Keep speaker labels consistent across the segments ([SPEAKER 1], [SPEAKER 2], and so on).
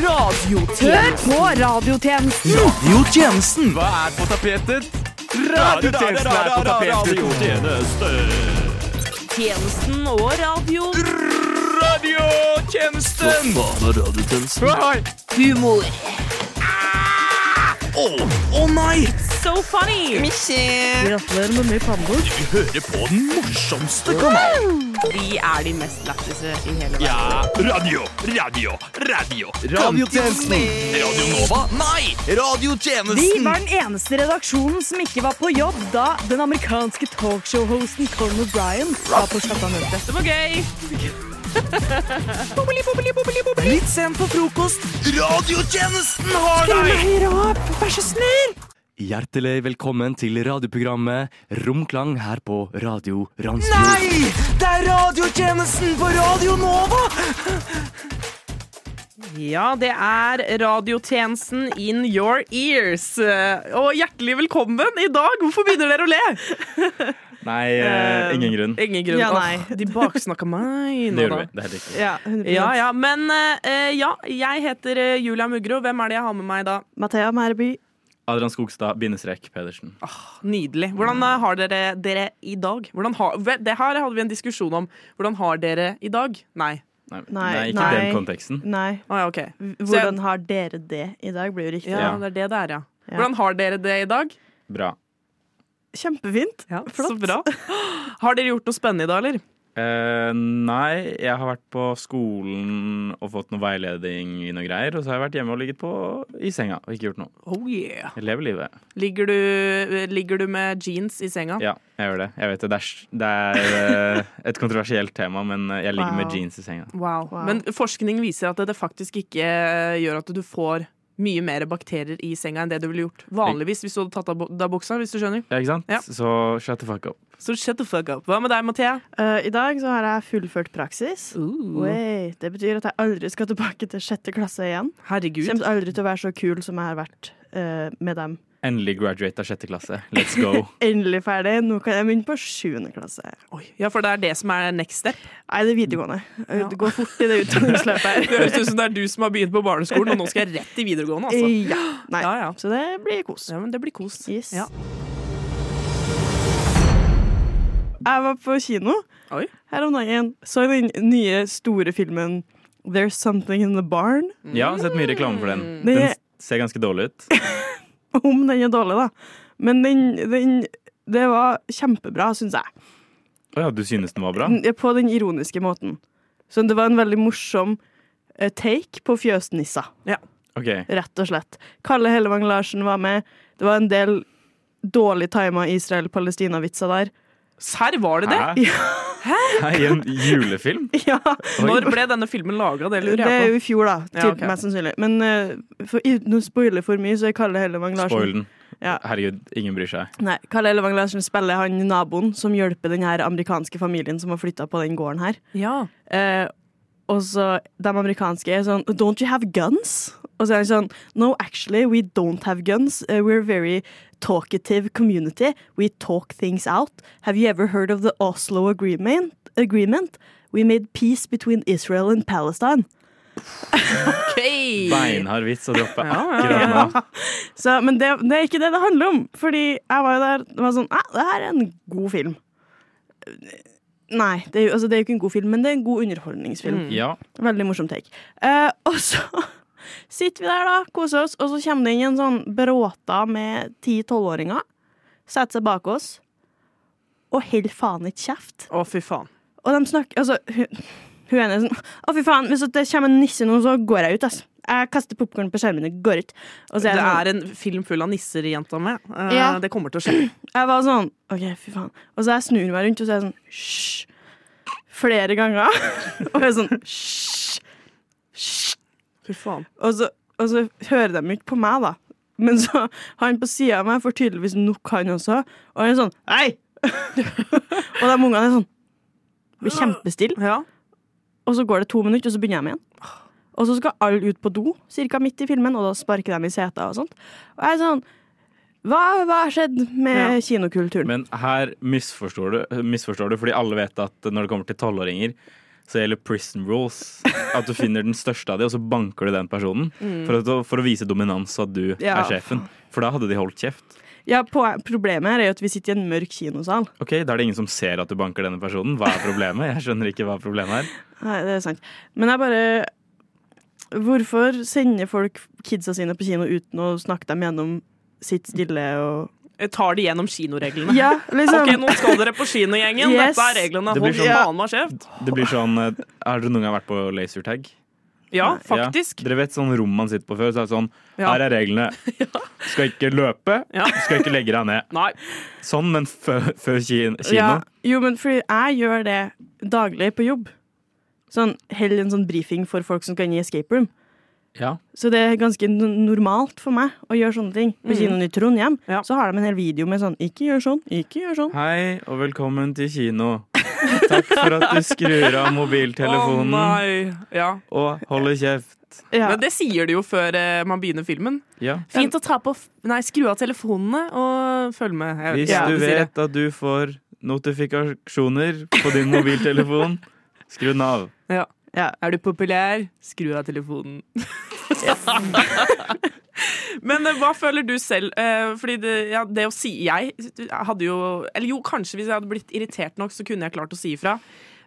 [SPEAKER 1] Radiotjenesten.
[SPEAKER 2] Hør på radiotjenesten!
[SPEAKER 3] Radiotjenesten.
[SPEAKER 4] Hva er på tapetet?
[SPEAKER 3] Radiotjenesten er på tapetet.
[SPEAKER 1] Tjenesten og radio.
[SPEAKER 4] Radiotjenesten!
[SPEAKER 3] Faen er radiotjenesten.
[SPEAKER 4] Hei!
[SPEAKER 1] Humor.
[SPEAKER 3] Å å nei!
[SPEAKER 1] So funny.
[SPEAKER 2] Gratulerer med ny pannebok.
[SPEAKER 3] Vi hører på den morsomste kanalen.
[SPEAKER 1] Vi er de mest lættise i hele verden.
[SPEAKER 3] Ja, radio, radio, radio.
[SPEAKER 4] Radiotjenesten.
[SPEAKER 3] Radio Nova? Nei!
[SPEAKER 2] Vi
[SPEAKER 3] Radiotjenesten.
[SPEAKER 2] var den eneste redaksjonen som ikke var på jobb da den amerikanske talkshow-hosten Conor Bryan var på Chattanooga.
[SPEAKER 1] Det var gøy.
[SPEAKER 3] Litt sent på frokost. Radiotjenesten har deg!
[SPEAKER 2] Høyre opp, vær så snill!
[SPEAKER 4] Hjertelig velkommen til radioprogrammet Romklang her på Radio Ransfjord.
[SPEAKER 3] Nei! Det er radiotjenesten på Radio Nova!
[SPEAKER 1] Ja, det er radiotjenesten in your ears. Og hjertelig velkommen i dag. Hvorfor begynner dere å le?
[SPEAKER 4] Nei, eh, ingen grunn.
[SPEAKER 1] Ingen grunn.
[SPEAKER 2] Ja, nei.
[SPEAKER 1] Åh, de baksnakka meg nå,
[SPEAKER 4] Det gjør
[SPEAKER 1] da.
[SPEAKER 4] vi. Det er helt riktig.
[SPEAKER 2] Ja, 100
[SPEAKER 1] Ja, ja, men eh, ja, jeg heter eh, Julia Mugro. Hvem er det jeg har med meg da?
[SPEAKER 2] Mathea Mæreby.
[SPEAKER 4] Adrian Skogstad, bindestrek Pedersen.
[SPEAKER 1] Nydelig. Hvordan eh, har dere dere i dag? Hvordan har, ve- det her hadde vi en diskusjon om. Hvordan har dere i dag? Nei.
[SPEAKER 4] Nei,
[SPEAKER 2] Nei,
[SPEAKER 4] nei ikke
[SPEAKER 2] nei.
[SPEAKER 4] den konteksten.
[SPEAKER 2] Nei.
[SPEAKER 1] Å ja, OK. Så jeg-
[SPEAKER 2] Hvordan har dere det i dag? Blir jo riktig.
[SPEAKER 1] ja,
[SPEAKER 4] Ja.
[SPEAKER 1] det er det det er, ja.
[SPEAKER 2] Ja.
[SPEAKER 1] Hvordan har dere det i dag?
[SPEAKER 4] Bra.
[SPEAKER 2] Kjempefint.
[SPEAKER 1] Ja,
[SPEAKER 2] Flott.
[SPEAKER 1] Så bra. Har dere gjort noe spennende i dag, eller?
[SPEAKER 4] Eh, nei, jeg har vært på skolen og fått noe veiledning i noe greier. Og så har jeg vært hjemme og ligget på i senga og ikke gjort noe.
[SPEAKER 1] Oh yeah.
[SPEAKER 4] Jeg lever livet.
[SPEAKER 1] Ligger du, ligger du med jeans i senga?
[SPEAKER 4] Ja, jeg gjør det. Jeg vet det. Det er, s- det er eh, et kontroversielt tema, men eh, jeg ligger
[SPEAKER 2] Wow.
[SPEAKER 4] med jeans i senga.
[SPEAKER 1] Wow.
[SPEAKER 2] Wow.
[SPEAKER 1] Men forskning viser at det faktisk ikke eh, gjør at du får mye mer bakterier i senga enn det du ville gjort vanligvis hvis du hadde tatt av bu- av buksa. hvis du skjønner.
[SPEAKER 4] Ja, ikke sant?
[SPEAKER 1] Ja.
[SPEAKER 4] Så shut the fuck up.
[SPEAKER 1] Så shut the fuck up. Hva med deg, Mathea?
[SPEAKER 2] Eh, I dag så har jeg fullført praksis.
[SPEAKER 1] Uh-huh.
[SPEAKER 2] Oi, det betyr at jeg aldri skal tilbake til sjette klasse igjen.
[SPEAKER 1] Herregud.
[SPEAKER 2] Kommer aldri til å være så kul som jeg har vært eh, med dem.
[SPEAKER 4] Endelig graduate av sjette klasse. Let's go.
[SPEAKER 2] Endelig ferdig. Nå kan jeg begynne på sjuende klasse.
[SPEAKER 1] Oi. Ja, for det er det som er next step.
[SPEAKER 2] Nei, det er videregående. Eh, Det går fort i det utdanningsløpet
[SPEAKER 1] Det
[SPEAKER 2] her.
[SPEAKER 1] høres ut som det er du som har begynt på barneskolen, og nå skal jeg rett i videregående. altså.
[SPEAKER 2] Eh, Ja. Nei.
[SPEAKER 1] Ja, ja.
[SPEAKER 2] Så det blir kos.
[SPEAKER 1] Ja, men Det blir kos.
[SPEAKER 2] Yes.
[SPEAKER 1] Ja.
[SPEAKER 2] Jeg var på kino
[SPEAKER 1] Oi.
[SPEAKER 2] her om dagen. Så den nye store filmen There's Something In The Barn.
[SPEAKER 4] Ja, sett mye reklame for den.
[SPEAKER 2] Det-
[SPEAKER 4] Den s- ser ganske dårlig ut.
[SPEAKER 2] Om den er dårlig, da. Men den, den Det var kjempebra, syns jeg.
[SPEAKER 4] Å ja, du synes den var bra?
[SPEAKER 2] N- På den ironiske måten. Så det var en veldig morsom eh, take på fjøsnissa,
[SPEAKER 4] OK.
[SPEAKER 2] rett og slett. Kalle Hellevang Larsen var med. Det var en del dårlig tima Israel-Palestina-vitser der.
[SPEAKER 1] Serr, var det det?
[SPEAKER 4] Hæ? Hæ? I en julefilm?
[SPEAKER 2] Ja,
[SPEAKER 1] Når ble denne filmen laga? Det
[SPEAKER 2] Det
[SPEAKER 1] lurer
[SPEAKER 2] er
[SPEAKER 1] jeg på.
[SPEAKER 2] jo i fjor, da.
[SPEAKER 1] Ja,
[SPEAKER 2] Til,
[SPEAKER 1] ok.
[SPEAKER 2] Mest sannsynlig. Men eh, for, uten å spoile for mye, så er Kalle Hellevang Larsen
[SPEAKER 4] Spoil den.
[SPEAKER 2] Ja.
[SPEAKER 4] Herregud, ingen bryr seg.
[SPEAKER 2] Nei, Kalle Hellevang Larsen spiller han naboen som hjelper den her amerikanske familien som har flytta på den gården her.
[SPEAKER 1] Ja.
[SPEAKER 2] Eh, og så de amerikanske er sånn Don't you have guns? Og så er han sånn No, actually, we don't have guns. Eh, we're a very talkative community. We talk things out. Have you ever heard of the Oslo agreement? agreement? We made peace between Israel and Palestine.
[SPEAKER 1] Okay.
[SPEAKER 4] Beinhard vits å droppe
[SPEAKER 1] Ja, ja,
[SPEAKER 4] akkurat nå.
[SPEAKER 2] Så, men det, det er ikke det det handler om. Fordi jeg var jo der og var sånn «Ah, Det her er en god film. Eh, Nei, det er, jo, altså, det er jo ikke en god film, men det er en god underholdningsfilm.
[SPEAKER 4] Ja.
[SPEAKER 2] Veldig morsom take. Eh, og så sitter vi der, da, koser oss, og så kommer det inn en sånn bråta med ti-tolvåringer. Setter seg bak oss og holder faen ikke kjeft.
[SPEAKER 1] Å, fy faen.
[SPEAKER 2] Og de snakker Altså, hun, hun ene er sånn Å, fy faen, hvis at det kommer en nisse nå, så går jeg ut, ass. Jeg kaster popkorn på skjermen og går ut. Og så
[SPEAKER 1] Det
[SPEAKER 2] er jeg sånn,
[SPEAKER 1] er en film full av nisser, jenta mi. Eh,
[SPEAKER 2] Ja.
[SPEAKER 1] Det kommer til å skje.
[SPEAKER 2] Jeg var sånn OK, fy faen. Og så jeg snur meg rundt og så er jeg sånn Hysj. Flere ganger. og jeg er sånn Hysj.
[SPEAKER 1] Fy faen.
[SPEAKER 2] Og, så- og så hører de jo ikke på meg, da. Men så han på sida av meg får tydeligvis nok, han også. Og han er sånn Hei! og de ungene er sånn Blir kjempestille.
[SPEAKER 1] Ja.
[SPEAKER 2] Og så går det to minutter, og så begynner de igjen. Og så skal alle ut på do, cirka midt i filmen, og da sparker de i seta og sånt. Og jeg er sånn Hva hva har skjedd med
[SPEAKER 1] Ja.
[SPEAKER 2] kinokulturen?
[SPEAKER 4] Men her misforstår du, misforstår du, fordi alle vet at når det kommer til tolvåringer, så gjelder prison rules. At du finner den største av de, og så banker du den personen.
[SPEAKER 1] Mm.
[SPEAKER 4] For, at, for å vise dominans at du
[SPEAKER 2] Ja.
[SPEAKER 4] er sjefen. For da hadde de holdt kjeft.
[SPEAKER 2] Ja, poe- Problemet her er jo at vi sitter i en mørk kinosal.
[SPEAKER 4] Ok, Da er det ingen som ser at du banker denne personen. Hva er problemet? Jeg skjønner ikke hva problemet er.
[SPEAKER 2] Nei, det er sant. Men jeg bare Hvorfor sender folk kidsa sine på kino uten å snakke dem gjennom sitt stille og
[SPEAKER 1] Jeg tar det gjennom kinoreglene.
[SPEAKER 2] Ja, liksom.
[SPEAKER 1] Ok, nå skal dere på kinogjengen.
[SPEAKER 2] Yes.
[SPEAKER 1] Dette er reglene.
[SPEAKER 4] Det blir
[SPEAKER 1] Hold
[SPEAKER 4] sånn-
[SPEAKER 1] faen meg kjeft.
[SPEAKER 4] Det blir sånn eh, Har dere noen gang vært på lasertag?
[SPEAKER 1] Ja,
[SPEAKER 4] Ja.
[SPEAKER 1] faktisk.
[SPEAKER 4] Dere vet sånn rom man sitter på før? Så er det sånn
[SPEAKER 1] Ja.
[SPEAKER 4] Her er reglene. Du skal ikke løpe.
[SPEAKER 1] Ja.
[SPEAKER 4] Du skal ikke legge deg ned.
[SPEAKER 1] Nei.
[SPEAKER 4] Sånn, men før, før Ki- Kina.
[SPEAKER 2] Ja, jo, men fordi jeg gjør det daglig på jobb. Sånn, Heller en sånn briefing for folk som kan gi escape room.
[SPEAKER 4] Ja.
[SPEAKER 2] Så det er ganske n- normalt for meg å gjøre sånne ting. På kinoen i Trondheim
[SPEAKER 1] Ja.
[SPEAKER 2] så har de en hel video med sånn 'ikke gjør sånn', 'ikke gjør sånn'.
[SPEAKER 4] Hei, og velkommen til kino. Takk for at du skrur av
[SPEAKER 1] Å
[SPEAKER 4] mobiltelefonen
[SPEAKER 1] nei. Ja.
[SPEAKER 4] og holder kjeft.
[SPEAKER 2] Ja.
[SPEAKER 1] Men det sier de jo før eh, man begynner filmen.
[SPEAKER 4] Ja.
[SPEAKER 1] Fint å ta på f- Nei, skru av telefonene og følg med. Jeg vet
[SPEAKER 4] Hvis
[SPEAKER 1] ikke hva
[SPEAKER 4] du
[SPEAKER 1] de sier.
[SPEAKER 4] vet at du får notifikasjoner på din mobiltelefon, skru den av.
[SPEAKER 1] Ja.
[SPEAKER 2] Ja.
[SPEAKER 1] Er du populær? Skru av telefonen. Men eh, hva føler du selv? Eh, fordi det, ja, det å si Jeg hadde jo Eller jo, kanskje hvis jeg hadde blitt irritert nok, så kunne jeg klart å si ifra.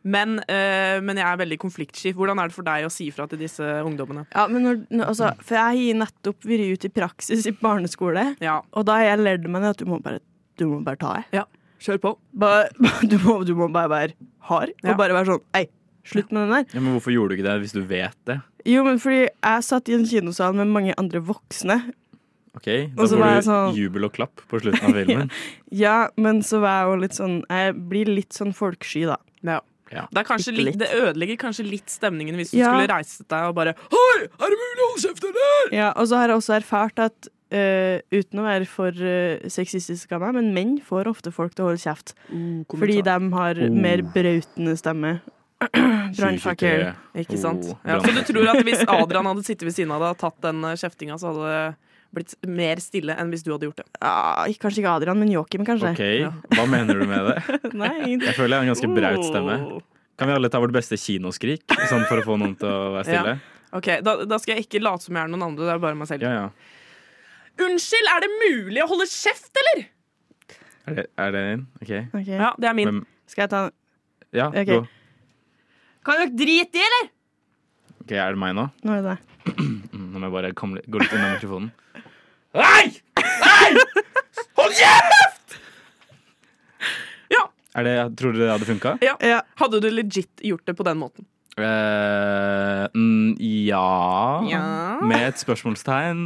[SPEAKER 1] Men, eh, men jeg er veldig konfliktsky. Hvordan er det for deg å si ifra til disse ungdommene?
[SPEAKER 2] Ja, men når, nå- altså, For jeg har nettopp vært ute i praksis i barneskole,
[SPEAKER 1] Ja,
[SPEAKER 2] og da har jeg lært meg det at du må bare, du må bare ta det.
[SPEAKER 1] ja. kjør på.
[SPEAKER 2] Bare, du, må, du må bare være hard,
[SPEAKER 1] Ja.
[SPEAKER 2] og bare være sånn 'ei, slutt med den der'.
[SPEAKER 4] Ja, men hvorfor gjorde du ikke det hvis du vet det?
[SPEAKER 2] Jo, men fordi jeg satt i en kinosal med mange andre voksne.
[SPEAKER 4] Ok, Da
[SPEAKER 2] Og så
[SPEAKER 4] får
[SPEAKER 2] var
[SPEAKER 4] du
[SPEAKER 2] jeg sånn-
[SPEAKER 4] jubel og klapp på slutten av filmen.
[SPEAKER 2] Ja, men så var jeg jo litt sånn Jeg blir litt sånn folksky, da.
[SPEAKER 1] Ja.
[SPEAKER 4] Ja.
[SPEAKER 1] Det, er kanskje
[SPEAKER 2] Bitte
[SPEAKER 1] litt,
[SPEAKER 2] litt.
[SPEAKER 1] det ødelegger kanskje litt stemningen hvis du
[SPEAKER 2] Ja.
[SPEAKER 1] skulle reist deg og bare Hei, er det mulig å holde kjeft, eller?
[SPEAKER 2] Ja, Og så har jeg også erfart at eh, uten å være for eh, sexistisk av meg, men menn får ofte folk til å holde kjeft. Fordi de har mer brautende stemme. Brannfakkel.
[SPEAKER 4] 2023.
[SPEAKER 1] Ikke sant?
[SPEAKER 4] Oh,
[SPEAKER 1] ja.
[SPEAKER 4] bra.
[SPEAKER 1] Så du tror at hvis Adrian hadde sittet ved siden av deg og tatt den eh, kjeftinga, så hadde det blitt mer stille enn hvis du hadde gjort det?
[SPEAKER 2] Ah, ikke- kanskje ikke Adrian, men Joakim, kanskje.
[SPEAKER 4] Ok, hva mener du med det?
[SPEAKER 2] Nei,
[SPEAKER 4] Jeg føler jeg har en ganske braut stemme.
[SPEAKER 1] Oh.
[SPEAKER 4] Kan vi alle ta vårt beste kinoskrik, sånn for å få noen til å være stille?
[SPEAKER 1] Ok, da, da skal jeg ikke late som jeg er noen andre. Det er bare meg selv.
[SPEAKER 4] Ja, ja.
[SPEAKER 1] Unnskyld, er det mulig å holde kjeft, eller?
[SPEAKER 4] Er det, er det din? Ok.
[SPEAKER 2] Ok.
[SPEAKER 1] Ja, det er min.
[SPEAKER 4] Hvem?
[SPEAKER 2] Skal jeg ta den?
[SPEAKER 4] Ja,
[SPEAKER 2] Ok.
[SPEAKER 4] gå.
[SPEAKER 1] Kan dere drite i, eller?
[SPEAKER 4] Ok, er det meg nå?
[SPEAKER 2] Nå er det deg.
[SPEAKER 4] Mm, Nå må jeg bare komme, litt- gå litt unna mikrofonen.
[SPEAKER 1] Ja.
[SPEAKER 4] Er det, tror dere det hadde funka?
[SPEAKER 1] ja.
[SPEAKER 2] Ja.
[SPEAKER 1] Hadde du legit gjort det på den måten?
[SPEAKER 4] Eh, mm, ja.
[SPEAKER 1] Ja.
[SPEAKER 4] Med et spørsmålstegn.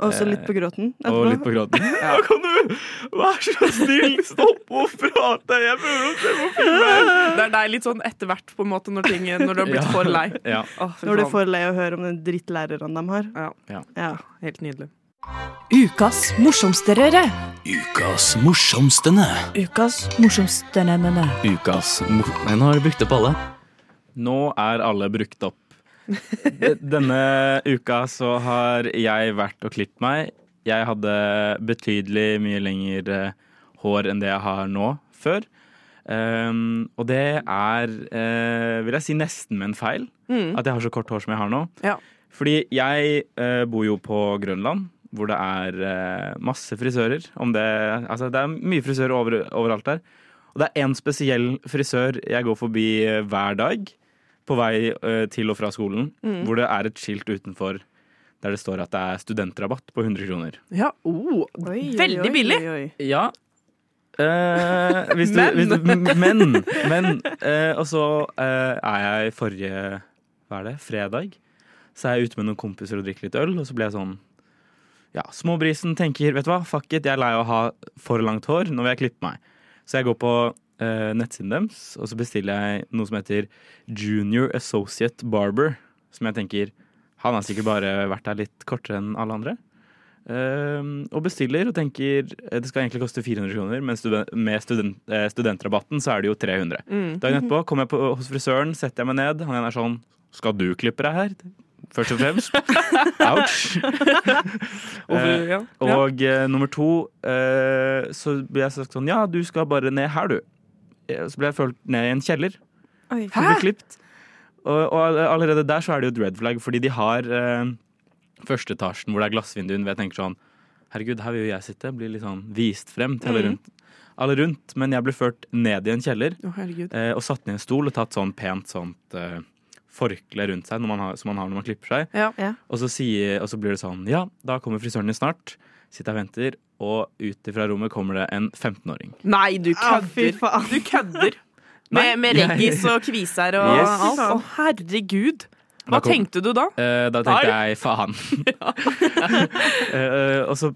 [SPEAKER 2] Også litt på gråten.
[SPEAKER 4] Eh, Og
[SPEAKER 2] etterpå.
[SPEAKER 4] litt på gråten.
[SPEAKER 1] Vær så snill, stopp å prate! Jeg prøver å se på filmen! Det er deg litt sånn etter hvert, på en måte, når, ting, når du har blitt
[SPEAKER 4] Ja.
[SPEAKER 1] for lei.
[SPEAKER 4] Ja.
[SPEAKER 1] Åh, fy
[SPEAKER 2] Når du
[SPEAKER 1] faen.
[SPEAKER 2] får lei å høre om den drittlæreren de har.
[SPEAKER 1] ja,
[SPEAKER 2] Ja.
[SPEAKER 1] Helt nydelig.
[SPEAKER 5] Ukas morsomste røre.
[SPEAKER 3] Ukas morsomstene.
[SPEAKER 5] Ukas morsomste nønnene.
[SPEAKER 3] Ukas mor... Nei, nå har du brukt opp alle.
[SPEAKER 4] Nå er alle brukt opp. D- Denne uka så har jeg vært og klippet meg. Jeg hadde betydelig mye lengre eh, hår enn det jeg har nå før. Ehm, og det er, eh, vil jeg si, nesten med en feil at jeg har så kort hår som jeg har nå.
[SPEAKER 1] Ja.
[SPEAKER 4] Fordi jeg eh, bor jo på Grønland, hvor det er eh, masse frisører. Om det, altså, det er mye frisører over, overalt der. Og det er én spesiell frisør jeg går forbi eh, hver dag på vei eh, til og fra skolen, hvor det er et skilt utenfor der det står at det er studentrabatt på 100 kroner.
[SPEAKER 1] Ja, oh, Veldig billig.
[SPEAKER 4] Ja. Eh, hvis du,
[SPEAKER 1] Men.
[SPEAKER 4] men! Hvis du, men, men eh, og så eh, er jeg forrige Hva er det? Fredag. Så er jeg ute med noen kompiser og drikker litt øl, og så ble jeg sånn Ja, småbrisen tenker Vet du hva, fuck it, jeg er lei av å ha for langt hår, nå vil jeg klippe meg. Så jeg går på eh, nettsiden deres, og så bestiller jeg noe som heter Junior Associate Barber. Som jeg tenker Han har sikkert bare vært der litt kortere enn alle andre. Ehm, og bestiller og tenker eh, det skal egentlig koste 400 kroner, men studen med student eh, studentrabatten så er det jo 300. Dagen etterpå kommer jeg på, hos frisøren, setter jeg meg ned. Han ene er sånn Skal du klippe deg her? Først og fremst. Ouch.
[SPEAKER 1] Hvorfor-
[SPEAKER 4] Eh,
[SPEAKER 1] ja. Ja.
[SPEAKER 4] Og eh, nummer to, eh, så ble jeg sagt sånn Ja, du skal bare ned her, du. Eh, Så ble jeg følt ned i en kjeller.
[SPEAKER 2] Oi.
[SPEAKER 4] som blir klippt. Og, og all- allerede der så er det jo et red flag, fordi de har eh, første etasjen hvor det er glassvinduer. hvor jeg tenker sånn Herregud, her vil jo jeg sitte. Blir litt sånn vist frem til alle
[SPEAKER 1] Mhm.
[SPEAKER 4] rundt. Alle rundt, men jeg ble ført ned i en kjeller
[SPEAKER 1] Å, herregud.
[SPEAKER 4] eh, og satt ned i en stol og tatt sånn pent sånt eh, forkle rundt seg når man har, som man har når man klipper seg.
[SPEAKER 1] Ja.
[SPEAKER 2] Ja.
[SPEAKER 4] Og, så sier, og så blir det sånn Ja, da kommer frisøren din snart. Sitter og venter, og ut fra rommet kommer det en 15-åring.
[SPEAKER 1] Nei, du
[SPEAKER 2] Ah, fy
[SPEAKER 1] kødder.
[SPEAKER 2] faen.
[SPEAKER 1] Du kødder.
[SPEAKER 4] Nei,
[SPEAKER 1] Med, med
[SPEAKER 4] jeg-
[SPEAKER 1] reggis og kviser og
[SPEAKER 4] Yes.
[SPEAKER 1] alt. Å, herregud. Hva
[SPEAKER 4] Da kom-
[SPEAKER 1] tenkte du da?
[SPEAKER 4] Eh, da
[SPEAKER 1] Da er
[SPEAKER 4] tenkte jeg faen. Eh, eh, og så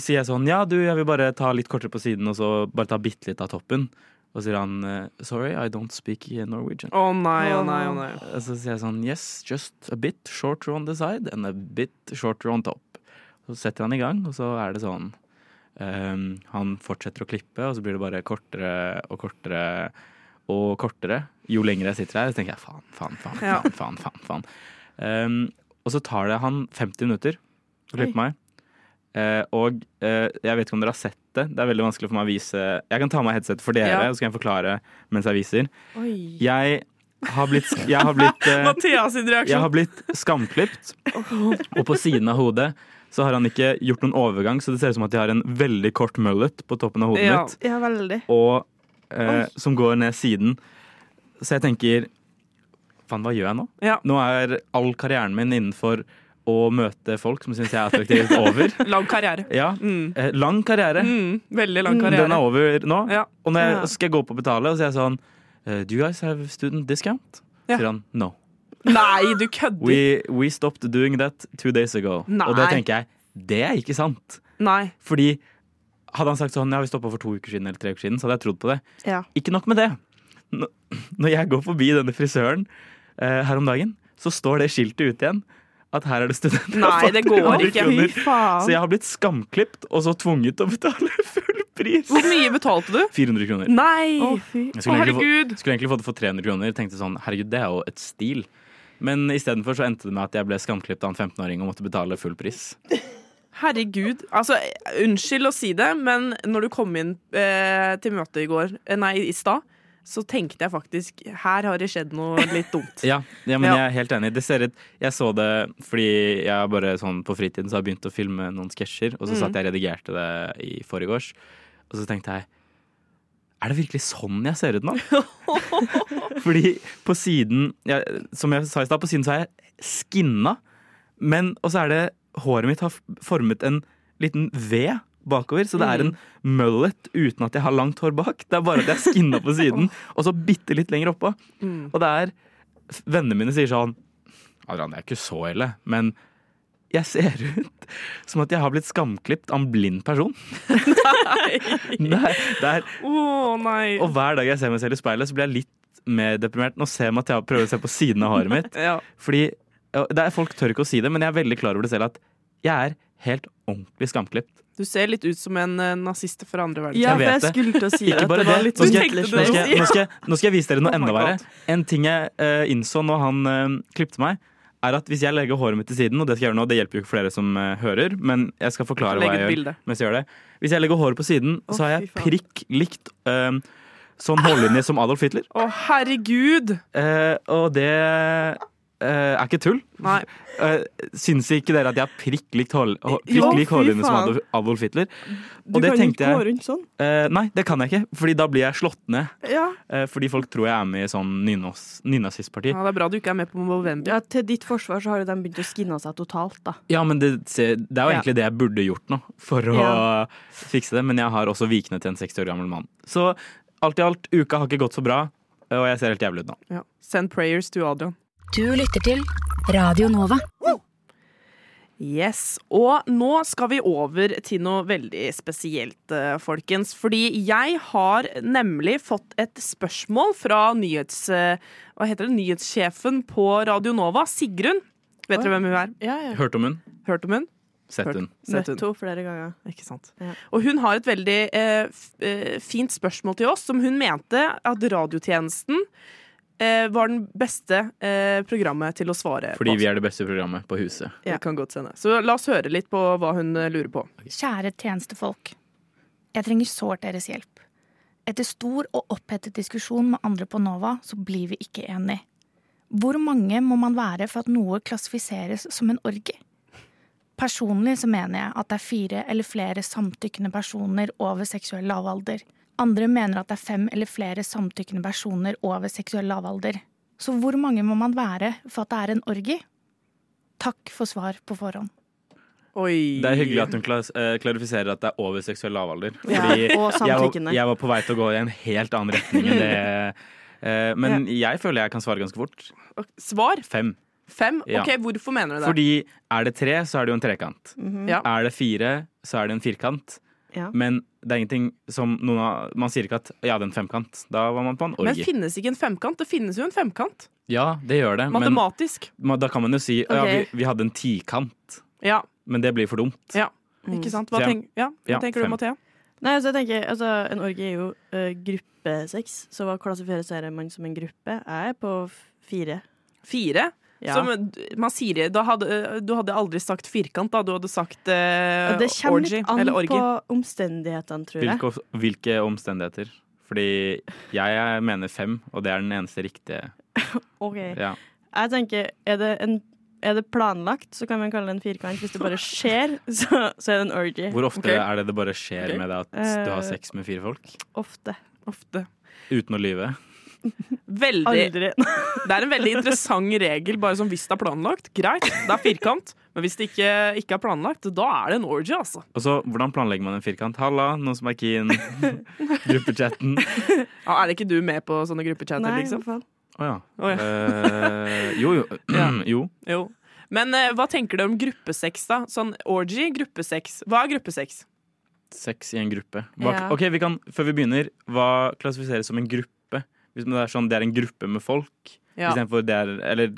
[SPEAKER 4] sier jeg sånn ja, du, jeg vil bare ta litt kortere på siden og så bare ta bitte litt av toppen. Og så sier han eh, sorry, I don't speak Norwegian.
[SPEAKER 1] Å nei, å nei, å nei.
[SPEAKER 4] Og så sier jeg sånn yes, just a bit shorter on the side and a bit shorter on top. Så setter han i gang, og så er det sånn ehm, Han fortsetter å klippe, og så blir det bare kortere og kortere og kortere. Jo lenger jeg sitter her, så tenker jeg faen, faen, faen,
[SPEAKER 1] Ja.
[SPEAKER 4] faen, faen. faen, faen. Ehm, og så tar det han 50 minutter å klippe meg. Eh, og eh, jeg vet ikke om dere har sett det. Det er veldig vanskelig for meg å vise Jeg kan ta av meg headset for dere,
[SPEAKER 1] Ja.
[SPEAKER 4] og så kan jeg forklare mens jeg viser.
[SPEAKER 1] Oi.
[SPEAKER 4] Jeg har blitt, sk- jeg har blitt eh,
[SPEAKER 1] Mathias sin
[SPEAKER 4] jeg har
[SPEAKER 1] reaksjon.
[SPEAKER 4] blitt skamklipt, og på siden av hodet så har han ikke gjort noen overgang, så det ser ut som at jeg har en veldig kort mullet på toppen av hodet
[SPEAKER 1] Ja.
[SPEAKER 4] mitt,
[SPEAKER 2] Ja, veldig.
[SPEAKER 4] og eh, som går ned siden. Så jeg tenker Faen, hva gjør jeg nå?
[SPEAKER 1] Ja.
[SPEAKER 4] Nå er all karrieren min innenfor å møte folk som syns jeg er attraktiv, over.
[SPEAKER 1] Lang karriere.
[SPEAKER 4] Ja.
[SPEAKER 1] Mm.
[SPEAKER 4] Eh, lang karriere.
[SPEAKER 1] Mm, veldig lang karriere.
[SPEAKER 4] Den er over nå.
[SPEAKER 1] Ja.
[SPEAKER 4] Og når jeg
[SPEAKER 2] Ja.
[SPEAKER 4] så skal jeg gå opp og betale, og så er jeg sånn eh, Do you guys have student discount?
[SPEAKER 1] Ja.
[SPEAKER 4] Sier han no.
[SPEAKER 1] Nei, du kødder!
[SPEAKER 4] We, we stopped doing that two days ago.
[SPEAKER 1] Nei.
[SPEAKER 4] Og da tenker jeg, det er ikke sant.
[SPEAKER 1] Nei.
[SPEAKER 4] Fordi hadde han sagt sånn, ja, vi stoppa for to uker siden eller tre uker siden, så hadde jeg trodd på det.
[SPEAKER 2] Ja.
[SPEAKER 4] Ikke nok med det. N- Når jeg går forbi denne frisøren eh, her om dagen, så står det skiltet ute igjen. At her er det studenter.
[SPEAKER 1] Nei, det går
[SPEAKER 4] Fattig
[SPEAKER 1] ikke.
[SPEAKER 4] kroner.
[SPEAKER 2] Fy faen.
[SPEAKER 4] Så jeg har blitt skamklipt og så tvunget til å betale full pris.
[SPEAKER 1] Hvor mye betalte du?
[SPEAKER 4] 400 kroner.
[SPEAKER 1] Nei!
[SPEAKER 2] Å,
[SPEAKER 1] Å,
[SPEAKER 2] fy.
[SPEAKER 4] Jeg skulle egentlig,
[SPEAKER 1] herregud!
[SPEAKER 4] få, skulle egentlig fått det for 300 kroner. Tenkte sånn, herregud, det er jo et stil. Men istedenfor så endte det med at jeg ble skamklipt av en 15-åring og måtte betale full pris.
[SPEAKER 1] Herregud. Altså, unnskyld å si det, men når du kom inn eh, til møtet i går, eh, nei, i stad, så tenkte jeg faktisk her har det skjedd noe litt dumt.
[SPEAKER 4] Ja, ja men
[SPEAKER 1] Ja.
[SPEAKER 4] jeg er helt enig. Det ser ut, jeg så det fordi jeg bare sånn på fritiden så har jeg begynt å filme noen sketsjer, og så satt jeg og redigerte det i forgårs. Og så tenkte jeg er det virkelig sånn jeg ser ut nå? Fordi på siden jeg, Som jeg sa i stad, på siden så er jeg skinna. Men, og så er det Håret mitt har formet en liten V bakover, så det er en mullet uten at jeg har langt hår bak. Det er bare at jeg er skinna på siden, og så bitte litt lenger oppå. Og det er Vennene mine sier sånn Adrian, det er ikke så ille, men jeg ser ut som at jeg har blitt skamklipt av en blind person. Nei, det er,
[SPEAKER 1] Å nei.
[SPEAKER 4] og hver dag jeg ser meg selv i speilet, så blir jeg litt mer deprimert. Nå ser jeg Mathea prøve å se på siden av håret mitt.
[SPEAKER 1] Ja.
[SPEAKER 4] Fordi ja, det er, Folk tør ikke å si det, men jeg er veldig klar over det selv at jeg er helt ordentlig skamklipt.
[SPEAKER 1] Du ser litt ut som en eh, nazist fra andre
[SPEAKER 2] Ja, for
[SPEAKER 1] verdenskrig.
[SPEAKER 4] vet
[SPEAKER 2] jeg
[SPEAKER 4] det.
[SPEAKER 2] skulle til å si
[SPEAKER 4] Ikke
[SPEAKER 2] det.
[SPEAKER 4] bare
[SPEAKER 2] det var
[SPEAKER 4] det.
[SPEAKER 2] litt sånn
[SPEAKER 4] Nå skal-
[SPEAKER 2] guilty
[SPEAKER 1] nå skal
[SPEAKER 4] Nå skal,
[SPEAKER 2] pleasure.
[SPEAKER 4] jeg, nå, skal jeg, nå skal jeg vise dere
[SPEAKER 1] Oh
[SPEAKER 4] noe
[SPEAKER 1] my
[SPEAKER 4] enda verre.
[SPEAKER 1] God.
[SPEAKER 4] En ting jeg eh, innså når han uh, klippte meg, er at hvis jeg legger håret mitt til siden, og det skal jeg gjøre nå, det hjelper jo ikke flere som eh, hører, men jeg skal forklare hva
[SPEAKER 1] Legg
[SPEAKER 4] jeg
[SPEAKER 1] et
[SPEAKER 4] gjør
[SPEAKER 1] bilde.
[SPEAKER 4] mens jeg gjør det. Hvis jeg legger håret på siden, så har jeg
[SPEAKER 2] fy faen.
[SPEAKER 4] prikk likt eh, sånn hårlinje som Adolf Hitler.
[SPEAKER 1] Å, herregud!
[SPEAKER 4] Eh, og det eh, er ikke tull.
[SPEAKER 1] Nei.
[SPEAKER 4] Uh, syns ikke dere at jeg har prikk likt hål- hå-
[SPEAKER 2] Jo,
[SPEAKER 4] prikk lik
[SPEAKER 2] fy
[SPEAKER 4] hårlinje som
[SPEAKER 2] faen.
[SPEAKER 4] Adolf, Adolf Hitler?
[SPEAKER 2] Du
[SPEAKER 4] Og det
[SPEAKER 2] kan jo ikke
[SPEAKER 4] tenkte
[SPEAKER 2] gå
[SPEAKER 4] jeg
[SPEAKER 2] rundt sånn.
[SPEAKER 4] eh, Nei, det kan jeg ikke, Fordi da blir jeg slått ned.
[SPEAKER 2] Ja.
[SPEAKER 4] eh, fordi folk tror jeg er med i sånn nynos- nynazistparti.
[SPEAKER 1] Ja, det er bra du ikke er med på Movember.
[SPEAKER 2] ja, Til ditt forsvar så har jo de begynt å skinne seg totalt, da.
[SPEAKER 4] Ja, men det, ser- det er jo egentlig det jeg burde gjort nå for å
[SPEAKER 2] Ja.
[SPEAKER 4] fikse det. Men jeg har også vikene til en 60 år gammel mann. Så alt i alt, uka har ikke gått så bra, og jeg ser helt jævlig ut nå.
[SPEAKER 1] Ja. Send prayers to Adrian.
[SPEAKER 6] Du lytter til Radio Nova.
[SPEAKER 1] Yes, og nå skal vi over til noe veldig spesielt, eh, folkens. Fordi jeg har nemlig fått et spørsmål fra nyhets, eh, hva heter det? nyhetssjefen på Radio Nova, Sigrun. Vet dere hvem hun er?
[SPEAKER 2] Ja, ja.
[SPEAKER 4] Hørt om hun?
[SPEAKER 1] Hørt om hun?
[SPEAKER 4] Sett
[SPEAKER 1] Hørt.
[SPEAKER 4] hun.
[SPEAKER 1] Sett
[SPEAKER 2] Møtt
[SPEAKER 1] hun.
[SPEAKER 2] henne flere ganger.
[SPEAKER 1] Ikke sant?
[SPEAKER 2] Ja.
[SPEAKER 1] Og hun har et veldig eh, f- eh, fint spørsmål til oss, som hun mente at radiotjenesten eh, var den beste eh, programmet til å svare
[SPEAKER 4] Fordi
[SPEAKER 1] på.
[SPEAKER 4] vi er det beste programmet på huset.
[SPEAKER 1] Det kan godt hende. Så la oss høre litt på hva hun eh, lurer på.
[SPEAKER 7] Kjære tjenestefolk. Jeg trenger sårt deres hjelp. Etter stor og opphetet diskusjon med andre på NOVA, så blir vi ikke enige. Hvor mange må man være for at noe klassifiseres som en orgi? Personlig så mener jeg at det er fire eller flere samtykkende personer over seksuell lavalder. Andre mener at det er fem eller flere samtykkende personer over seksuell lavalder. Så hvor mange må man være for at det er en orgi? Takk for svar på forhånd.
[SPEAKER 1] Oi.
[SPEAKER 4] Det er hyggelig at hun klas- eh, klarifiserer at det er over seksuell lavalder.
[SPEAKER 2] Ja,
[SPEAKER 4] Fordi
[SPEAKER 2] og
[SPEAKER 4] jeg var,
[SPEAKER 2] samtykkende.
[SPEAKER 4] jeg var på vei til å gå i en helt annen retning enn det. Eh, Men jeg føler jeg kan svare ganske fort.
[SPEAKER 1] Svar
[SPEAKER 4] Fem.
[SPEAKER 1] fem.
[SPEAKER 4] Ja.
[SPEAKER 1] Ok, hvorfor mener du det?
[SPEAKER 4] Fordi er det tre, så er det jo en trekant.
[SPEAKER 1] Ja.
[SPEAKER 4] Er det fire, så er det en firkant.
[SPEAKER 2] Ja.
[SPEAKER 4] Men det er ingenting som noen av Man sier ikke at ja, det er en femkant. Da var man på en
[SPEAKER 1] Men
[SPEAKER 4] orgie.
[SPEAKER 1] finnes ikke en femkant? Det finnes jo en femkant.
[SPEAKER 4] Ja, det gjør det. Men
[SPEAKER 1] Matematisk.
[SPEAKER 4] ma- da kan man jo si ja, vi,
[SPEAKER 2] Ok.
[SPEAKER 4] vi hadde en tikant.
[SPEAKER 1] Ja.
[SPEAKER 4] Men det blir for dumt.
[SPEAKER 1] ja. Ikke sant? Hva,
[SPEAKER 4] Så jeg-
[SPEAKER 1] tenk, ja. Hva
[SPEAKER 4] Ja,
[SPEAKER 1] tenker
[SPEAKER 4] fem.
[SPEAKER 1] du, Mathea?
[SPEAKER 2] Nei, altså jeg tenker, altså, En orgie er jo uh, gruppesex, så hva klassifiserer man som en gruppe? Jeg er på f- fire.
[SPEAKER 1] Fire?
[SPEAKER 2] Ja.
[SPEAKER 1] Som, eh, man sier, da hadde, eh, du hadde aldri sagt firkant, da. Du hadde sagt eh,
[SPEAKER 2] det kommer
[SPEAKER 1] orgy.
[SPEAKER 2] litt an
[SPEAKER 1] Eller orgi.
[SPEAKER 2] på omstendighetene, tror jeg.
[SPEAKER 4] Hvilke, hvilke omstendigheter? Fordi jeg mener fem, og det er den eneste riktige.
[SPEAKER 2] Ok.
[SPEAKER 4] Ja.
[SPEAKER 2] Jeg tenker, er det, en, er det planlagt, så kan man kalle det en firkant. Hvis det bare skjer, så, så er det en orgy.
[SPEAKER 4] Hvor ofte
[SPEAKER 1] Ok.
[SPEAKER 4] er det det bare skjer
[SPEAKER 1] Ok.
[SPEAKER 4] med deg at
[SPEAKER 2] Eh.
[SPEAKER 4] du har sex med fire folk?
[SPEAKER 2] Ofte.
[SPEAKER 1] Ofte.
[SPEAKER 4] Uten å lyve?
[SPEAKER 1] Veldig
[SPEAKER 2] Aldri.
[SPEAKER 1] Det er en veldig interessant regel, bare som hvis det er planlagt. Greit, det er firkant. Men hvis det ikke, ikke er planlagt, da er det en orgy, altså.
[SPEAKER 4] Og så, Hvordan planlegger man en firkant? Halla, noen som er keen? Gruppechatten?
[SPEAKER 1] Ja, er det ikke du med på sånne gruppechatter,
[SPEAKER 2] Nei, i
[SPEAKER 1] liksom?
[SPEAKER 2] hvert fall.
[SPEAKER 4] Å ja.
[SPEAKER 1] Å, ja.
[SPEAKER 4] Eh, jo, jo.
[SPEAKER 1] Ja.
[SPEAKER 4] jo.
[SPEAKER 1] Jo. Men eh, hva tenker du om gruppesex, da? Sånn orgy, gruppesex. Hva er gruppesex?
[SPEAKER 4] Sex i en gruppe. Hva,
[SPEAKER 2] Ja.
[SPEAKER 4] Ok, vi kan, Før vi begynner, hva klassifiseres som en gruppe? Hvis det er sånn, det er en gruppe med folk,
[SPEAKER 1] Ja.
[SPEAKER 4] istedenfor det er Eller